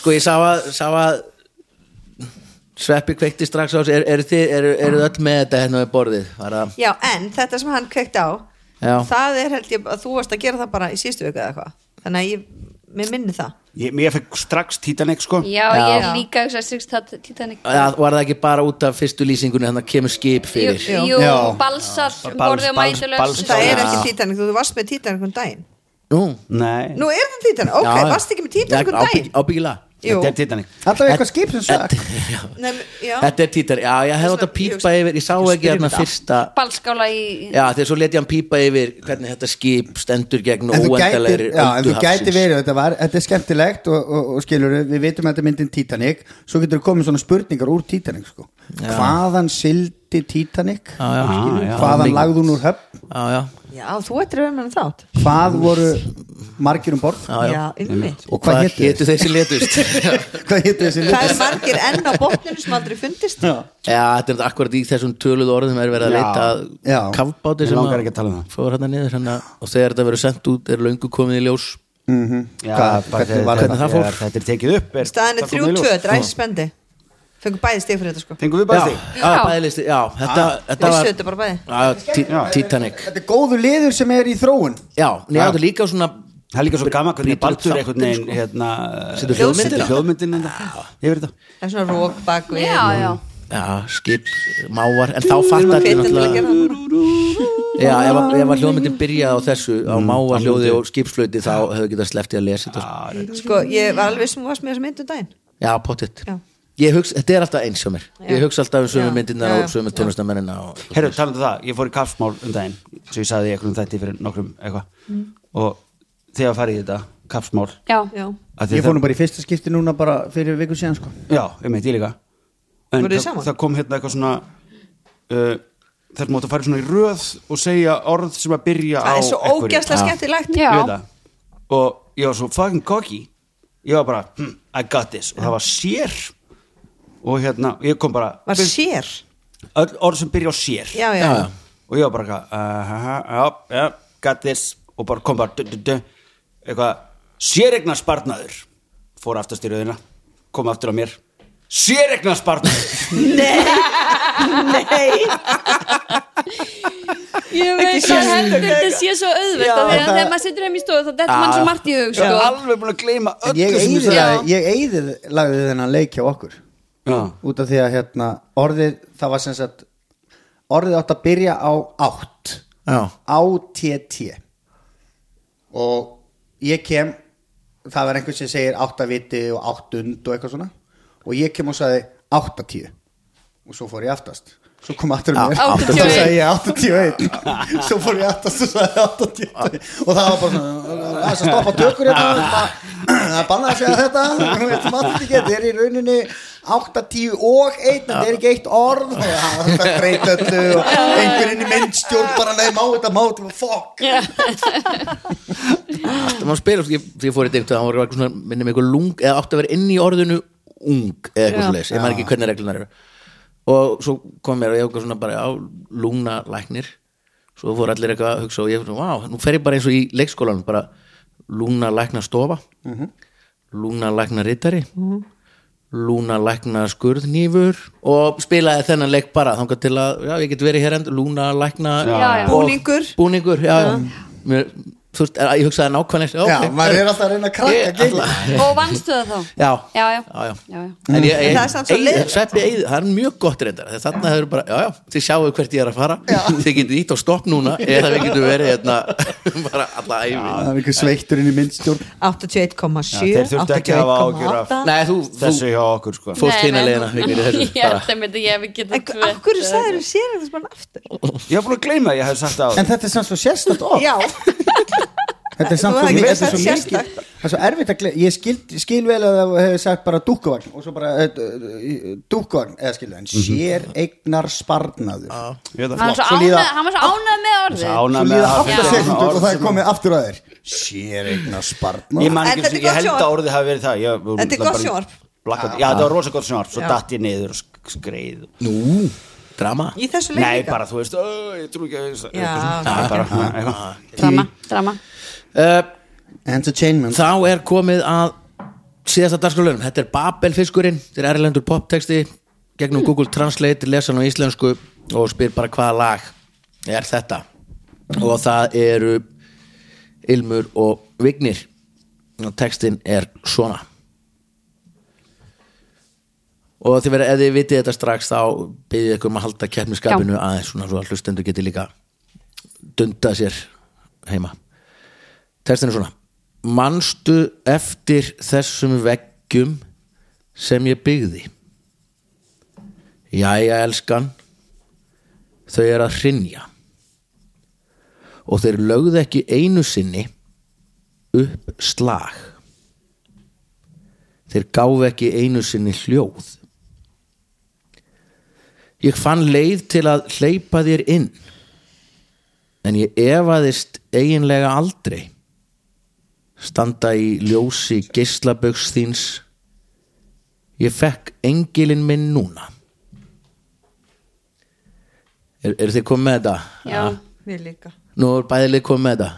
A: Sko, ég sá að, sá að Sveppi kveikti strax á þessu Er- Eru þið, eru, eru öll með þetta hérna við borðið? Var það
B: já en þetta sem hann kveikt á
A: Já.
B: það er held ég að þú varst að gera það bara í síðustu viku eða eitthvað þannig að ég, mér minni það
C: Ég, ég fekk strax Titanic sko
E: Já, ég er
B: Já.
E: líka að hugsa Titanic.
A: Já, var það ekki bara út af fyrstu lýsingunni þannig að kemur skip
E: Jú,
A: fyrir
E: jú
F: Já.
E: balsar,
C: Bals-
E: borðið og
C: bals-
E: mætulös.
C: balsar.
B: það er
C: Já.
B: ekki Titanic, þú varst með Titanic um daginn
A: Nú,
C: Nei,
B: nú er það Titanic, ok,
A: já, já.
B: varst ekki með Titanic
A: Já,
B: um daginn
A: ábygg- Ábyggilega
B: jú,
C: þetta er Titanic
F: Alltaf eitthvað skip sem sagt.
B: Nei, já.
A: Þetta er títar, já, ég hefði átt að
B: Ég
A: pípa
B: hugsa-
A: yfir Ég sá
B: ég
A: ekki
B: spyr um
A: hérna
B: þetta.
A: fyrsta
E: Balskála í
A: Já, þegar svo leti hann pípa yfir hvernig þetta skip stendur gegn
F: en þú gætir,
A: óendalegri
F: já, en þú
A: öldu
F: gætir
A: hafsins.
F: verið þetta, var, þetta er skemmtilegt og, og, og skilur við vitum að þetta er myndin Titanic svo getur komið svona spurningar úr Titanic sko. hvaðan sildi Titanic
A: Já, já.
F: Skilurðu,
C: Ah, já.
F: hvaðan
A: Mikið.
F: lagði hún úr höfn
A: Já, já,
B: já, þú ættir að vera með hann þátt
F: hvað voru margir um borð
A: já, já
B: já, einmitt
F: og hvað hétu
A: hétu þeir sem letust Já,
F: hvað hétu þessi
B: það er
F: lið
B: margir enn á botninu sem aldrei fundist
A: þetta er akkurat í þessum töluðu orðum er verið að
C: Já.
A: leita að
F: Já.
A: kafbáti
C: Mig
A: sem
C: langar ekki að tala um það.
A: fór hérna niður hana, og þegar þetta verður sendt út er löngu komið í ljós
C: Já,
F: Mhm. Hvað-
C: bara
F: hvernig
C: þegar-
F: var
A: þetta?
C: þegar Þetta er tekið upp er,
B: staðan
C: það
B: er
C: kom í ljós.
B: 3-2, þetta er æssi spendi fengum bæði stig fyrir þetta sko
C: Fengum við
A: Já,
C: bara þig
A: já, bæðilisti, já, þetta, þetta
B: vissu
A: var
B: þetta bara bæði
A: já, já, Ti- Titanic
F: þetta er góðu liður sem er í þróun
A: Já, nýja þetta er líka svona
C: Það er líka svo gaman hvernig
A: brýtur upp
C: Baldur
A: þáttinn,
C: einhvern veginn
A: sko.
C: hérna,
A: Setur
B: hljóðmyndina.
C: hljóðmyndin yfir þetta
B: það er svona rók bak við
E: Já, já.
A: Já, skip, mávar, en þá fattar
B: Við erum að hvetja til að
A: náttúrulega-
B: gera það núna.
A: Já, ef, að- ef að hljóðmyndin byrjaði á þessu á
C: Mm,
A: mávar hljóði og skipflöti þá hefðu getað sleftið að lesa þetta sko.
B: sko, ég var alveg sem varst með þessa mynd um daginn
A: Já, pottitt
B: Já.
A: Ég hugsa, þetta er alltaf eins hjá mér Ég
B: Já.
A: hugsa alltaf um sömu
B: Já.
A: myndirnar
B: Já, já.
A: og sömu tónlistamennina og...
C: Herru, talandi um það, ég fór í kaffsmál um daginn sem ég sagði í einhverjum þætti fyrir nokkrum eitthvað
B: Mm.
C: og þegar farið í þetta kaffsmál
E: Já.
B: já,
C: af því
F: ég
C: það-
F: fór nú bara í fyrsta skipti núna bara fyrir viku síðan sko.
C: Já, um eitt, ég líka En
B: Voruð þið
C: það,
B: saman?
C: það kom hérna eitthvað svona uh, þess máttu að fara í svona í röð og segja orð sem að byrja á
B: það er svo
C: einhverju. Ah,
B: ógæslega
A: Já.
B: skemmtilegt
C: Ég
E: Já.
C: veit það. og ég var svo fucking cocky ég var bara, hm, I got this og það var sér og hérna, ég kom bara
B: var sér
C: öll orð sem byrja á sér
B: já, já,
A: Já, já.
C: og ég var bara eitthvað uh, ha, ha, já, já, got this og bara kom bara du, du, du, eitthvað, séregnar sparnaður fór aftast í rauðina kom aftur á mér séregnar sparnaður
E: Ég veit að heldur þetta sé svo auðvelt af því að þegar maður setur heim í stofu þá dettur mann svo margt í hug
C: ég er
E: sko.
C: alveg búin að gleyma
F: En ég
C: öllu sem ég
F: eyði-
C: sagði
E: sagði.
F: ég eyði lagði þennan leik hjá okkur
C: já,
F: út af því að hérna, orðið það var sem sagt orðið átt að byrja á átt
A: Já.
F: átt og ég kem það var einhvern sem segir áttaviti og áttund og eitthvað svona og ég kem og sagði áttatíu og svo fór ég aftast svo kom aftur mér
E: Já, 81.
F: svo sagði ég 81 svo fór ég aftast og sagði 81 og það var bara svona það er að stoppa tökur hérna það- það bannaði að segja þetta þú veist, þú mátt ekki, þetta er í rauninni 80 og 1 þetta er ekki eitt orð og það- það breyt öllu og einhverinn í myndstjórn bara nei má þetta má þetta fuck
A: Það má spila, sko, ég, ég fór í deimt það var eitthvað svona, minnum eitthvað lung eða átti að vera inn í orðinu ung eða eitthvað
E: Já.
A: svoleiðis, ég maður ekki hvernig reglunar eru og svo kom mér og ég eitthvað svona bara á lungna læknir svo fór allir eitthvað að hugsa og ég svona, vá, nú fer ég bara eins og í leikskólanum bara lungna lækna stofa
E: Mhm.
A: lungna lækna rittari lúna lækna skurðnýfur og spilaði þennan leik bara þangað til að, já, ég get verið hér end lúna lækna
E: Já, já.
A: og-
B: Búningur.
A: búningur, já, já. Mér, þú veist, ég hugsaði nákvæmlega já,
F: já,
A: ok.
F: maður er alltaf að reyna að krakka
A: Ég-
F: gengið.
A: alla-
E: og vannstu það þá
A: Já.
E: já,
A: Já,
E: já,
A: já.
E: já, já.
A: En ég, ég,
B: En það er samt svo
A: Eyð-
B: leiðilegt.
A: svefni eyði, það er mjög gott reyndar þegar þarna þau eru bara, já já, þið sjáu hvert ég er að fara þið getið ítt á stopp núna eða við getum verið hérna bara alla æfi
F: það er einhver sveitturinn í myndstjórn
B: 81,7
C: þeir þurftu ekki að hafa áhyggjur af-
B: 81,8
A: Nei, þú, þú
C: þessu hjá okkur sko
A: fórst
E: Nei,
A: hina
E: nei,
A: leiðina
E: nei.
A: Vigni, í þessu,
E: ég
A: bara.
E: held að myndi ég við getum
B: En af hverju sagður þú sér þetta bara aftur?
C: ég var búin að gleyma að ég hef sagt það á
F: en þetta er samt svo sérstætt orð
B: Já,
F: Þetta er samt
B: Þú
F: svo
B: hefði
F: mikið,
B: ekki
F: þetta er svo
B: sagt
F: mikið Það er svo erfitt að gleyma, ég skil, skil vel að það hefur sagt bara dúkkuvagn og svo bara eh, eh, dúkkuvagn, eða skilja en sér eignar sparnaður
C: ég veit
E: hann
C: það
E: var
F: Svo
E: svo
F: líða-
E: ánægð- hann var svo ánægð með orðið
F: Svo
C: Ánægð með
F: líða
C: að-
F: 8
E: Já.
F: sekundur og það er
C: Orð sem-
F: komið aftur að þér Sér eignar
C: ég,
F: sparnaður
C: man
B: En þetta
C: ekki, ég
B: er gott
C: held að
B: sjónvarp.
C: orðið hafi verið það ég,
B: Þetta er
C: bara-
B: gott sjónvarp.
C: Blakkaði- já, þetta var rosa gott sjónvarp svo
B: Já.
C: datt ég niður og sk- skreið
A: Nú, drama
B: í þessu leik
C: nei,
B: líka.
C: bara þú veist, "Ö, ég trú ekki að ég-
B: Já,
C: eitthvað svona. bara svona, eitthvað.
E: drama, drama
A: uh,
F: Entertainment
A: Þá er komið að síðasta dagskrálunum, þetta er Babelfiskurinn þetta er erlendur poptexti gegnum Google Translate, lesan á íslensku og spyr bara hvaða lag er þetta og það eru Ilmur og Vignir og textin er svona og þið verið, ef þið vitið þetta strax þá byrðið ykkur um að halda keppniskapinu aðeins svona svo að hlustendur geti líka dunda sér heima textin er svona manstu eftir þessum veggjum sem ég byggði jæja elskan þau er að hrynja og þeir lögðu ekki einu sinni upp slag þeir gáfu ekki einu sinni hljóð ég fann leið til að hleypa þér inn en ég efaðist eiginlega aldrei standa í ljósi geislaböks þíns ég fekk engilinn minn núna er, er þið komið með þetta? Ah.
E: já,
B: Við líka
A: Nú er bæðileg komið með þetta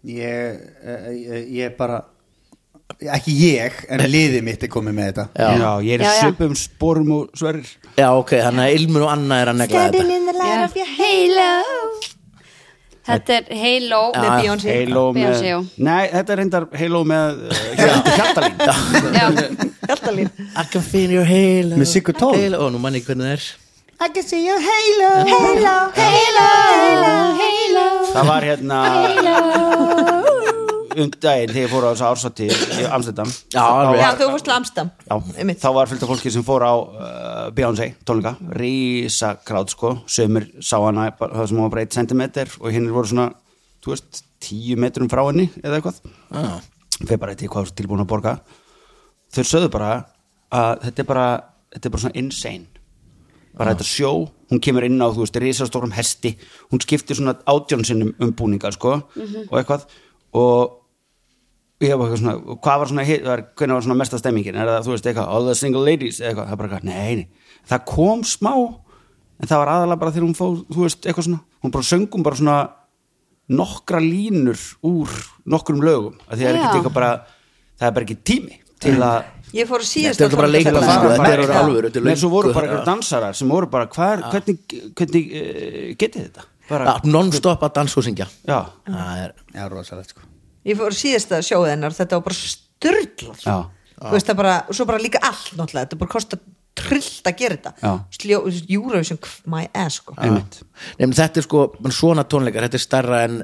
F: Ég, eh, eh, ég bara ekki ég, en liðið mitt er komið með þetta
A: Já.
C: já, ég er
E: Já, já.
C: svipum sporum og sverrir
A: Já, ok, þannig að Ilmur og Anna er að negla þetta
B: in the
E: já. halo þetta er halo
B: Með Beyoncé
C: Halo með,
E: Beyoncé, já.
C: nei, þetta er reyndar Halo með eh, hérna, Hjaltalín
E: já,
B: Hjaltalín
A: I can feel your halo
F: Með Siggu Tól.
A: Halo, Ó, nú mann ég hvernig það er
C: það var hérna um daginn þegar ég fór á þessu ársati í Amsterdam
A: Já, alveg.
B: Já,
C: Þá var-
B: þú fórst til Amstam
C: Já,
B: Einmitt.
C: þá var fylgta fólki sem fór á uh, Beyoncé tónleika, rísa krát sko, sömur sá hana bara- það sem hún var bara 1 cm og hinn voru svona þú veist, 10 metrum frá henni eða eitthvað,
A: ah.
C: við bara eitthvað hvað þú ert tilbúin að borga þau sögðu bara að þetta er bara, þetta er bara svona insane bara þetta sjó, hún kemur inn á þú veist, risastórum hesti, hún skiptir svona átjón sinnum um búninga sko og eitthvað og ég var eitthvað svona, hvað var svona hit, var, hvernig var svona mesta stemmingin, er það þú veist eitthvað all the single ladies, eða eitthvað, það er bara eitthvað, nei, nei það kom smá, en það var aðalega bara þegar hún fór, þú veist, eitthvað svona hún bara söngum bara svona nokkra línur úr nokkrum lögum að því það er
E: Já.
C: ekkert eitthvað bara það er bara ekki tími til að
B: Ég fór að síðast
A: Þetta er bara
C: til að
A: leikfang,
C: fara
A: sko, þetta er
C: bara-
A: orðið alvöru, þetta er
C: Nei,
A: löngu-
C: svo voru bara einhverjum dansarar sem voru bara hvar, hvernig, hvernig uh, getið þetta bara,
A: Að non-stop að dansa og syngja
C: já,
A: Það er
F: Já, rosalegt sko
B: Ég fór síðast að sjóða hennar Þetta var bara styrlað
C: Já.
B: Þú veist það bara, og svo bara líka allt náttúrulega Þetta bara kostar trillt að gera þetta
C: Já.
B: Sljó- þú veist, Eurovision, kv- my ass sko.
C: einmitt
A: Nefnir, þetta er sko, svona tónleikar, þetta er starra en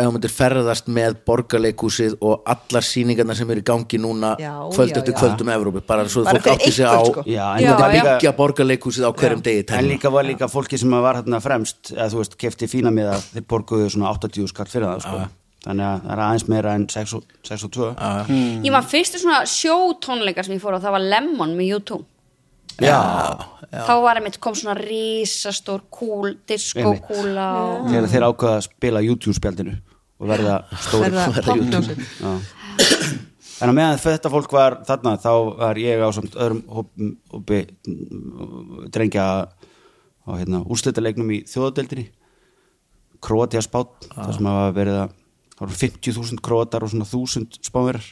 A: ef þú myndir ferðast með borgarleikúsið og allar sýningarnar sem eru í gangi núna
B: Já,
A: kvöld
B: já,
A: eftir
B: já.
A: kvöldum Evrópi, bara svo
B: Bara
A: fólk
B: fyrir
A: átti sig á
B: einhvern, sko.
C: Já, en
E: Já,
A: þetta
E: já.
A: byggja borgarleikúsið á hverjum degi
C: en
A: tæmi.
C: líka var líka fólki sem var hérna fremst eða þú veist, kefti fína með að þeir borguðu svona 80 skall fyrir það sko. þannig að það er aðeins meira en 6 og, 6 og 2
E: Ég var fyrstu svona sjótónleikar sem ég fór á, það var Lemon með YouTube Þá var einmitt kom svona risastór kúl,
C: Einmitt.
E: diskokúla og...
C: þegar þeir ákvaða að spila YouTube-spjaldinu og verða stóri
B: Verða popphljómsveit.
C: en að meðan þetta fólk var þarna þá var ég á samt öðrum hópum hópi mm, drengja á hérna, úrslitaleiknum í þjóðadeldinni Kroatia spátt
F: Ah.
C: þar sem hafa verið að það voru 50.000 kroatar og svona 1000 spánverar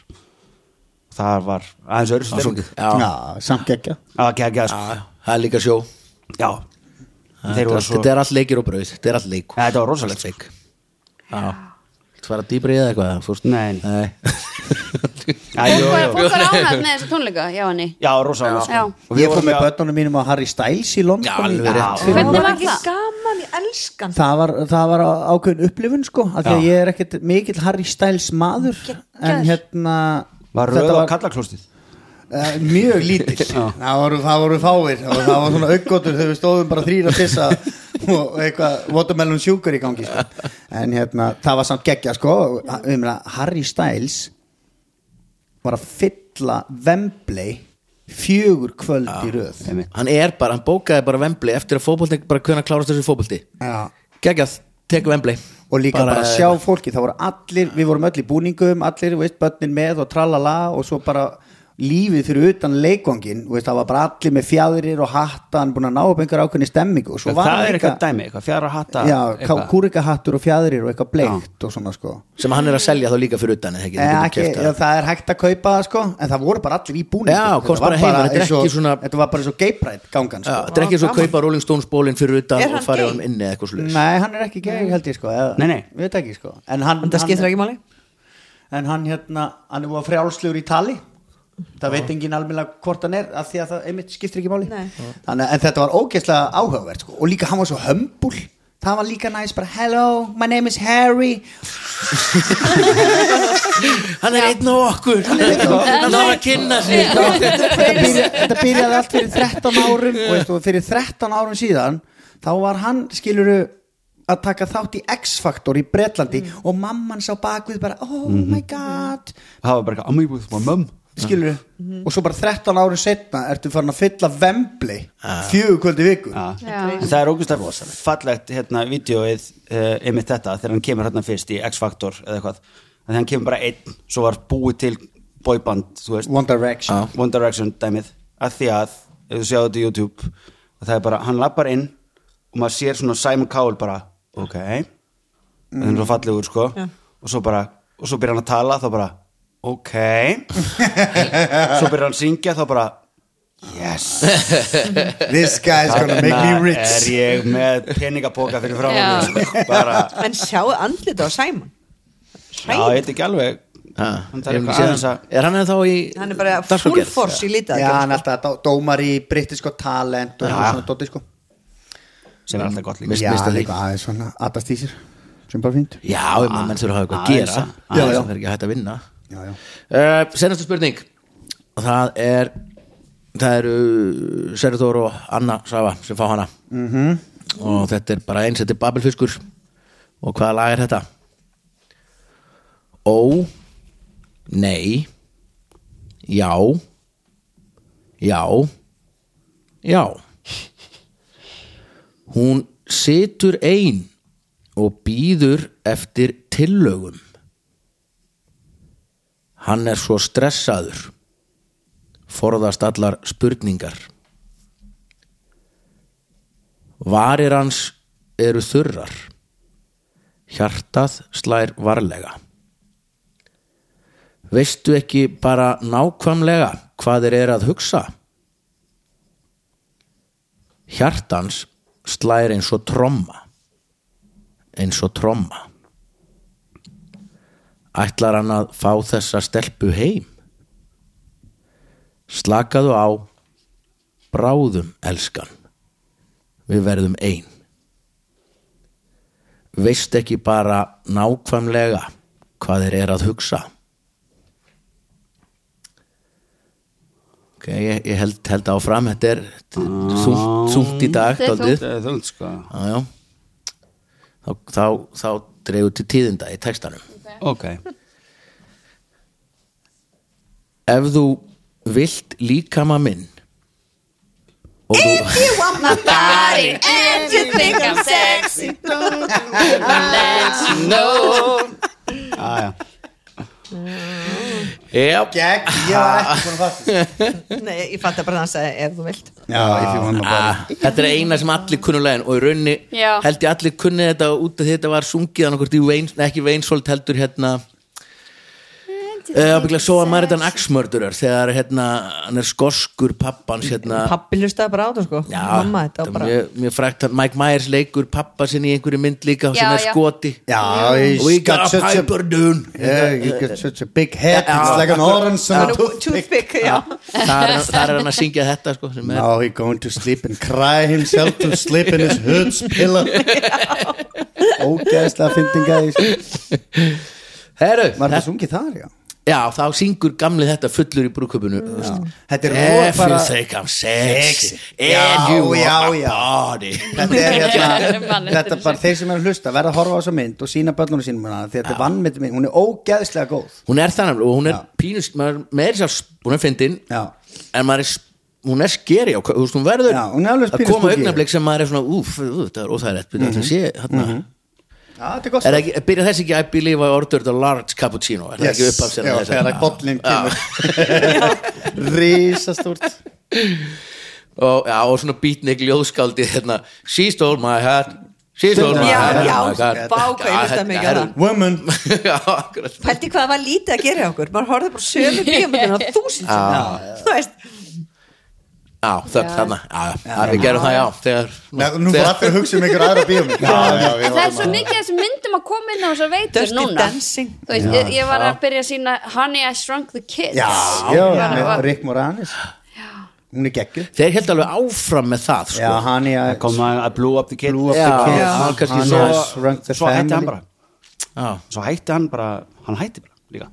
C: það var aðeins öðru
A: Já,
C: stemming.
A: já.
F: Já, samt ekki
C: Það var geggjað,
F: Ah.
C: sko.
A: Já, það er líka sjó
C: já þeir
A: Þetta
C: voru svo
A: þetta er allt leikir og brauð, þetta er allt leik
C: Ja, þetta var rosalegt.
A: Allt leik. Já Þetta var að dýbri eða eitthvað fórst-
C: Nei.
A: Nei.
C: Já, jú,
E: Fólk var-
C: jú.
E: fólk var ánægð með þessu tónleika, já henni
C: já, rosalega
E: Já.
C: sko.
F: Og við fórum með börnunum mínum á Harry Styles í London
A: Já,
F: í-
A: alveg rétt.
F: fyrir
E: Hvernig var
F: mörg-
B: Ekki
E: það?
B: gaman, ég elskan
F: Það var, það var ákveðin upplifun sko af því að
C: Já.
F: ég er ekkert mikill Harry Styles maður en hérna
C: var
F: þetta
C: röð á kallaklóstið
F: Eh, mjög lítill það voru, það voru fáir það voru, það voru svona aukkotur þegar við stóðum bara þrýra pissa og eitthvað watermelon sugar í gangi sko. en hérna, það var samt geggja sko. myrna, Harry Styles var að fylla Wembley fjögur kvöld í röð
C: Einmitt.
A: Hann er bara, hann bókaði bara vembli eftir að fótbolti, bara hvernig klárast þessu fótbolti
F: Já.
A: Gægjað, tek vembli
F: og líka bara, að sjá fólki það voru allir, við vorum öll í búningum allir, þú veist, börnin með og tralala og svo bara lífið fyrir utan leikvangin, þú veist, það var bara allir með fjæðrir og hattan, búin að ná upp einhver ákveðni stemmingu og svo var
C: það er
F: líka-
C: eitthvað dæmi, eitthvað fjara hatta
F: já,
C: eitthvað.
F: kúrikahattur og fjæðrir og eitthvað bleikt og svona sko
A: sem hann er að selja þá líka fyrir utan eða ekki,
F: Eh,
A: Þú getur
F: ekki,
A: keypt það.
F: já, það er hægt að kaupa það sko en það voru bara allir í búningum
A: Já,
F: Þetta
A: komst
F: var
A: bara heim, þetta er
F: eins og-
A: ekki svona-
F: þetta var bara eins og geiprætt gangan
A: Já,
F: sko.
A: þetta er ekki svo að kaupa Rolling Stones bólinn fyrir utan
B: Er hann
A: og fara
B: gay?
A: hann inni eða eitthvað sluðis
F: nei, hann er ekki geip held ég sko eða,
C: Nei, nei.
F: við veit ekki sko en hann,
B: Það skiptir ekki máli
F: en hann hérna, hann er búin að frjálslegur í tali það veit enginn alveg hvort hann er af því að það einmitt skiptir ekki máli
B: Nei.
F: Þannig, að- en þetta var ógeðslega áhugavert sko. og líka hann var svo hömbul það var líka næst bara hello, my name is Harry
A: Hann er einn á okkur Hann er einn á okkur Hann þarf að kynna sig
F: þetta, byrja, þetta byrjaði allt fyrir 13 árum og veistu, fyrir 13 árum síðan þá var hann, skiluru að taka þátt í X-faktor í Bretlandi og mamman sá bakvið bara oh my god,
C: það var bara eitthvað "I'm with my mum
F: skiluru og svo bara 13 árum setna ertu farin að fylla Vembli fjögur kvöldi viku
C: Já.
E: Já.
C: En það er ógust að fallegt hérna vídeoið uh, einmitt þetta þegar hann kemur hérna fyrst í X-Factor eða eitthvað að hann kemur bara einn svo var búið til boyband þú veist,
F: One Direction
C: One Direction dæmið að því að, ef þú sjáðu þetta í YouTube að það er bara, hann lappar inn og maður sér svona Simon Cowell bara ok, mm. það er svo fallegur sko
B: Já.
C: og svo bara, og svo byrjar hann að tala þá bara, ok svo byrjar hann að syngja þá bara yes
F: this guy's gonna make me
C: Þarna
F: rich
C: Hérna er ég með peningapoka fyrir frá
E: Já.
C: mig sko. bara,
B: En sjáu andlita á Simon
C: já, ég
B: Hrein,
C: veit ekki alveg
A: Ha,
C: hann
A: ég
C: þarf
A: hef ekki
C: eitthvað
A: séð
C: aðeins
A: hann.
C: að
A: Er hann eða þá í
B: hann er bara full
A: dagskrárgerð?
B: force í lítið
F: Já, sko. hann er alltaf dó- dómari, brittisko talent og
C: Já.
F: svona dóti sko
C: sem er alltaf gott líka
A: Mist-
F: Já,
A: mista því.
F: líka aðeins svona atast í sér sem bara fínt
A: Já, ef maður menn sér að hafa eitthvað að
C: Aðeins
A: gera
C: að-
A: Það
F: Já, já.
A: er ekki hægt að vinna
F: Já, já.
A: uh, Senastu spurning Það er Það eru Seri Þór og Anna Sava sem fá hana -hmm. og þetta er bara eins, þetta er Babelfiskur og hvaða lag er þetta? Ó Nei Já Já Já Hún situr ein og býður eftir tillögum Hann er svo stressaður forðast allar spurningar Varir hans eru þurrar Hjartað slær varlega Veistu ekki bara nákvæmlega hvað þeir eru að hugsa? Hjartans slær eins og tromma eins og tromma Ætlar hann að fá þessa stelpu heim? Slakaðu á bráðum elskan Við verðum ein Veist ekki bara nákvæmlega hvað þeir eru að hugsa Ok, ég, ég held, held áfram Þetta er þungt, þungt í dag
E: Þetta er
A: dálítið.
C: Þetta er þöld sko
A: Já, já. Þá, þá, þá dreigur til tíðinda í textanum
C: Ok,
A: Ef þú vilt líkama minn og þú,
E: Body and you think I'm sexy
C: aðja
A: yep.
F: Gegg, ég var ekki búin að fatta
B: Nei, ég fatt bara að hann sagði ef þú vilt
F: Já, ég fyrir hann að bara
A: ah, Þetta er eina sem allir kunnulegin og í rauninni
E: Já.
A: held ég allir kunni þetta út af því þetta var sungið annað hvort í Veins, nei, ekki Veinsvold heldur hérna eh, ábygglega svo að Maritan Axmördurar þegar hérna hann er skoskur pappans hérna
B: Pappi hlustaði bara á það sko
A: Já,
B: Mamma þetta
A: er
B: var bara
A: mjög, mjög frækt að Mike Myers leikur pappa sinni í einhverju mynd líka sem
E: Já,
A: er
E: já.
A: skoti
F: Já,
A: We
F: he's got
A: got
F: such a
A: Piper Dune
F: Yeah, you got such a big head
A: Yeah.
F: It's like an orange and a toothpick
B: Toothpick, já
A: þar er- þar er hann að syngja þetta sko, sem er
F: Now he going to sleep and cry himself to sleep in his hood's pillow Ógeðslega fyndinga
A: Heru,
F: Var það sungið þar, já
A: Já, þá syngur gamli þetta fullur í brúköpunu
F: Þetta er rosa
A: If you
F: bara
A: think I'm sexy
F: Sexy.
A: And
F: Já,
A: you
F: já,
A: want my
F: já.
A: body
F: Þetta er hérna,
E: Manneskja.
F: þetta er bara þeir sem er að hlusta verða að horfa á þessa mynd og sína börnunum sínum hana, því þetta er vannmyndi mynd, hún er ógeðslega góð
A: Hún er þannig og hún er
F: Já.
A: pínus maður, maður er sá, hún er fyndin
F: Já.
A: en maður er, s- hún er skeri á, þú veist, hún verður
F: Já, hún er alveg
A: að
F: pínu
A: koma
F: spooky. Mhm.
A: augnablik sem maður er svona úf, úf það er óþægilegt mm -hmm. sé, mm -hmm.
F: Já, þetta er gott
A: er ekki, byrja þess ekki I believe I ordered a large cappuccino er það ekki upp af sér
F: Já, þegar að bollin kemur Rísastúrt
A: og, já, og svona beatnik ljóðskaldi hérna, she stole my hat she stole my
F: Já,
A: hat oh
F: já,
A: my God.
B: vá, hvað ég hlustaði mikið á
A: herru,
B: það.
F: Woman
A: já, akkurat
B: Pældi hvað það var lítið að gera hjá okkur Maður horfði bara á sömu bíómyndina þúsund sinnum. Þú veist
A: Já, þögn þarna já, já, Við gerum það, já þegar,
F: Já, Nú fór allir að hugsa um ykkur aðra bíum Já, já,
E: En það er svo mikið af þessum myndum að koma inn á þessar veitur
B: Dirty
E: núna
B: Dancing.
E: Þú veist, ég, ég var að byrja að sína Honey, I Shrunk the Kids
F: Já,
E: Bara
F: með
E: var-
F: Rick Moranis Hún er geggjur
A: þeir held alveg áfram með það sko.
F: Já, hann er
C: Það kom að að blow up the kid
F: Blew up
A: Já,
F: the kids
A: já, kannski
F: Hann
A: svo-
F: er shrunk the
C: Svo hætti hann
F: family
C: bara
A: já.
C: Svo hætti hann bara Hann hætti bara líka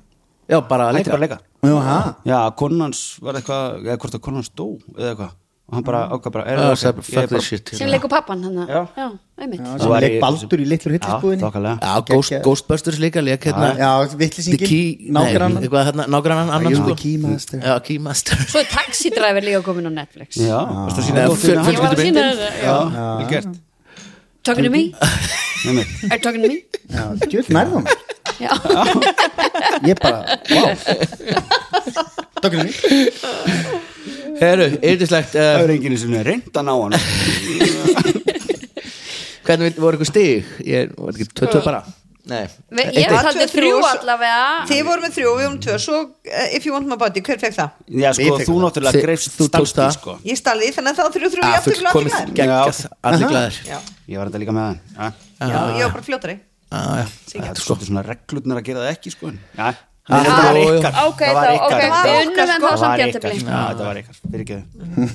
A: já, bara að
C: Hætti
A: leika
C: bara að leika
F: Jú, ha?
C: Já, konan hans var eitthvað Eða hvort að konan hans dó Eða eitthvað Og hann bara
F: Mm.
C: ákvað bara Er
A: Já,
C: Ah, það
A: sagði,
C: ok? Ég er bara-
A: fuck this shit hérna.
E: Sem leikur pappan hann
C: Já.
E: Já, einmitt
F: Já,
C: Svo var
F: sem leik
C: ég-
F: Baldur í litlu
C: Já,
F: hryllisbúðinni
C: þokkalega
A: Já, Ghost,
F: Geggjað.
A: Ghostbusters líka leik hérna
F: Já,
A: The Key,
F: vitlisingin
A: nei,
F: Nágrannan
A: eitthvað hérna, nágrannan annan
F: Jú,
A: sko
F: The Keymaster.
A: Já, Keymaster
E: Svo er Taxi Driver líka komin á Netflix
C: Já, varstu Ah. að sína
A: Nei,
C: dótturina
A: fjö-
E: Ég var að
A: Fjölskyldumyndin.
E: sína þetta já.
C: Já, vel gert
F: Ah.
E: Talking to me?
C: Einmitt.
E: Are you talking to me?
F: Djöld nærðum
E: Já,
F: Ég bara, wow Dögnum í
A: Heru, yrdislegt
C: Það
A: uh,
C: er enginn sem er reynd að ná hann
A: Hvernig vil- voru ykkur stig? Ég var ekki tvö, tvö bara Nei,
E: Við- ég
B: eitt.
E: taldi þrjú allavega
B: Þið vorum með þrjú, við vorum tvö Svo eh, If You Want My Body, hver fekk það?
C: Já,
F: Við
C: sko,
F: tekum
C: þú
F: það.
A: Þi-
C: náttúrulega greifst
A: þú tókst
C: stalstíð,
A: það.
C: sko
B: Ég stalði því þannig að þá þrjú þrjú
A: að
B: jafn
A: full
B: til glöðum
A: komið
B: maður
A: Ah, geggjað Allir glæðir
B: Já,
C: Ég var þetta líka með hann Já.
B: já, ég var bara fljótari
A: Já, Ah, já.
C: Það
E: sko.
C: er svolítið svona reglurnar að gera það ekki sko en- Já,
A: Ah,
C: þetta var
A: já, já.
C: ykkar
E: Ok,
C: Það var
E: þá,
C: ykkar
E: ok,
B: þetta
E: við
B: var
E: unnum en
B: okkar,
E: þá
C: Það
E: samt
C: var
E: jættibli
C: ykkar, Já, þetta var ykkar, fyrir ekki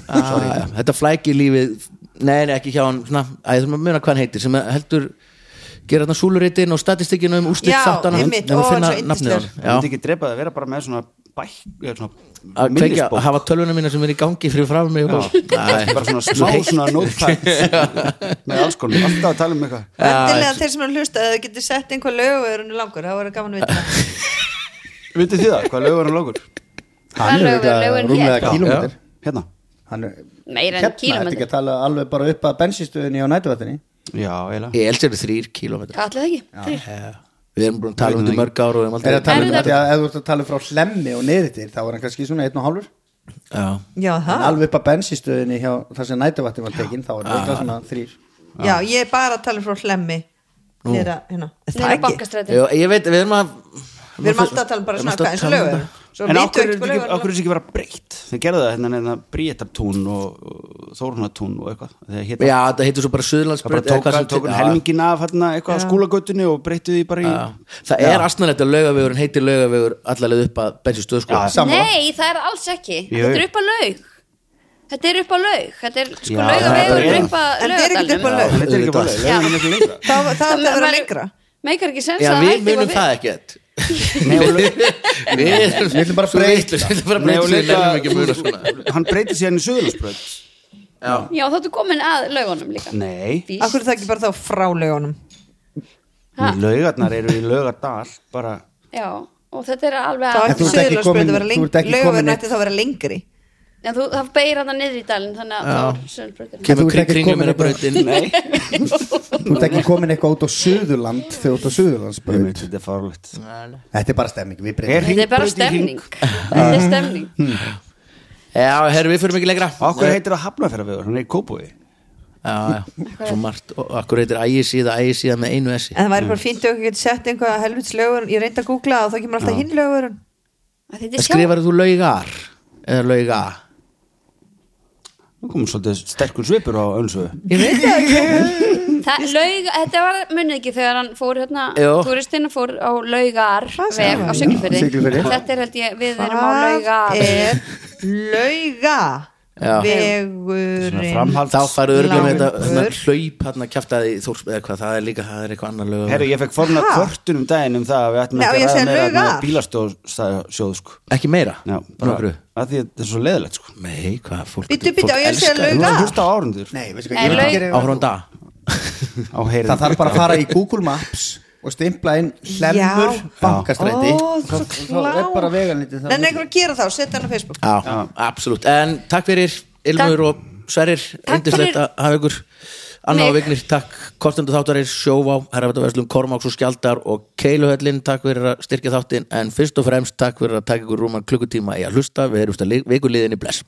A: Ah, já. Þetta flæki lífið Nei, nei, ekki hjá hann svona, að ég þarf að muna hvað hann heitir sem heldur gera þarna súluritin og statistikinu um úrslit
B: Já,
A: þáttana
B: einmitt,
A: nema
B: ó,
A: finna
B: hann er svo
A: nafnið á
B: yndislegur.
A: honum.
C: Það myndi
A: Já.
C: ekki drepa það að vera bara með svona bæk eða svona
A: að kveikja,
C: minnisbók.
A: að hafa tölvuna mína sem er í gangi fyrir frá mig og- Nei.
C: bara svona smá svona notfætt með alls konum, alltaf að tala um eitthvað
B: Endilega þeir sem eru að hlusta Ef þau getur sett einhver lög og eru langur Það voru gaman að vita það.
C: Vitið þið það, hvað um lögur hann lókur?
F: Hann
E: Alveg,
F: er
E: alveg,
F: auðvitað
E: ég-
F: rúmlega kílómetr
C: Hérna,
F: Hann er
E: Meira en
F: hérna,
E: kílómetri.
F: þetta ekki að tala alveg bara upp að bensinstöðinni á nætuvættinni
C: já, eiginlega
A: Ég elds eru þrýr kílómetrar
E: Hvað allir það ekki? Þrír.
A: Við erum búin að tala um þetta í mörg ára og við erum
F: Er að tala um
E: Er þetta-
F: þetta, ef þú ert að tala frá hlemmi og niður til, þá er hann kannski svona einn og hálfur
A: Já.
B: Já,
F: en
E: Ah.
B: það
F: alveg upp að bensinstöðinni Ah. hjá þar sem nætuvættin var tekin, þá er þetta svona þrýr
B: Já, ég er bara að tala frá hlemmi
A: Nú.
B: niður að hérna
E: Nei,
B: það ekki
E: bankastræti.
A: Já, ég veit, við erum að
B: við erum alltaf að tala um bara
A: Við
B: svona
A: erum alltaf
B: eitthvað eins og
A: að tala um
B: lögum svo sko
C: en
B: vitum
C: okkur er
B: við
C: þetta
B: ekki
C: ekki,
B: hvað
C: af hverju er
B: lögum
C: þetta ekki bara breytt þeir gerðu það hérna neina Bríetartún og, og Þórunartún og eitthvað þegar
A: Já,
C: hérna
A: þetta heitir svo
C: það
A: bara
C: bara
A: Suðurlandsbreyt
C: tók, tók, tók helmingin af hérna eitthvað skúlagötunni og breyttu því bara í
A: Það er astnalegt að laugavegur heitir laugavegur allaveg upp að bensinstöð sko
C: Já. Sammála.
E: Nei, það er það alls ekki
C: Jú.
E: Þetta er upp að laug Þetta er upp að laug Þetta er sko
C: Já,
E: laugavegur
C: það er-
E: upp að
B: En þetta er ekkert upp að laug.
E: laugardalinn.
C: en þetta er ekki bara
E: Já.
C: lögum er miklu lengra
B: það það átti að vera
E: Maður-
B: lengra
E: Meikar ekki sens
A: Já,
E: að
A: við
E: hætti
A: munum það ekkert Við við erum
F: bara að
A: svo
F: breyta.
A: vitlaus, Við erum bara að
C: Nei,
A: breyta
C: og
A: Við erum ekki að muna svona
C: líka- hann breytir sér henni söðurlúsbröð
A: Já.
E: Já, þá ertu komin að laugunum líka
C: nei,
E: Víst.
B: af hverju er það ekki bara þá frá lögunum
E: Ha.
C: laugarnar eru í laugardal bara
E: Já, og þetta er alveg
B: þá
E: að
B: ætti
F: þú ert ekki
B: söðurlandsbreyt
F: komin-
B: að vera
F: þú ert
B: lengri
F: ekki komin
B: lögum
F: neitt.
B: ætti þá að vera lengri
E: En þú, það beir hann niður í dalinn Þannig að það er söðurbröðurinn
A: Kemur
F: þú ert ekki
A: kringlum er
F: komin
A: að
F: upp að-
A: breytin
F: Þú ert ekki komin eitthvað út á Suðurland þegar þú ert á Suðurlandsbraut
C: þetta er farlegt
F: Þetta er bara stemming, við
C: Er-
F: breytum
E: Þetta er bara
C: Hringbraut í hring.
E: stemning Þetta er stemning
A: Já, herru, við fyrir mikið lengra
C: okkur heitir það hafnafjörðarvegur, hann er í Kópúi
A: Já, já, svo margt Og akkur heitir ægisíða, ægisíða með einu essi
B: en það væri bara fínt ef okkur getur sett einhvað helvits lögur ég reyndi að googla og þá kemur alltaf hinn lögur
E: Þetta er sjá
A: Skrifar þú laugar Eða lauga
C: nú komum svolítið sterkur svipur á önsu
B: ég veit það ekki
E: Það, laug, þetta var munið ekki þegar hann fór hérna,
A: Jó.
E: turistinn fór á laugar veg á Siglufyrði
F: Siglufirði.
E: þetta er held ég, við erum á laugar
B: hvað er lauga
A: Já.
B: vegurinn
C: framhald
A: Þá færðu örgum
B: Langur.
A: þetta svona hlaup hann að kjafta því þórs eða hvað, það er líka, það er eitthvað annað lög
C: Herru, ég fekk forna
B: Ha?
C: kvörtun um daginn um það að við ættum
B: Nei, á
C: ekki
B: ég
C: að
B: að
C: ræða
B: segja
C: meira
B: lauga?
C: með bílastóðsjóð sko.
A: Ekki meira?
C: Já,
A: bara okkur
C: að því að þetta er svo leðilegt sko.
A: Nei, hvað, fólk
B: Bíddu, bíddu, á ég að segja
A: elskar-
C: Þú
B: Lauga?
C: veist hlusta á árundur
F: Nei, veistu hvað,
E: Nei,
F: ég veit
E: laug-
F: ekki gera yfir-
A: Áhverjum dag
C: á heyrin
F: Það þarf bara að fara í Google Maps og stimpla inn hlemur
B: Já.
F: bankastræti
B: Ó,
F: Þá-
B: svo
F: þá er
B: klár.
F: bara veganlítið
B: en einhver að gera þá, setja hann á Facebook
A: Já, absolutt En takk fyrir Ilmur og Sverrir
E: Takk
A: Yndislegt
E: fyrir-
A: að hafa ykkur Anna og
E: Mig.
A: Vignir, takk Kostendu þáttarir, Sjóvá, Herrafættaverslum, Kormáks og Skjaldar og Keiluhöllin, takk fyrir að styrkja þáttin en fyrst og fremst takk fyrir að taka ykkur rúman klukkutíma í að hlusta, við erum vikuliðinni bless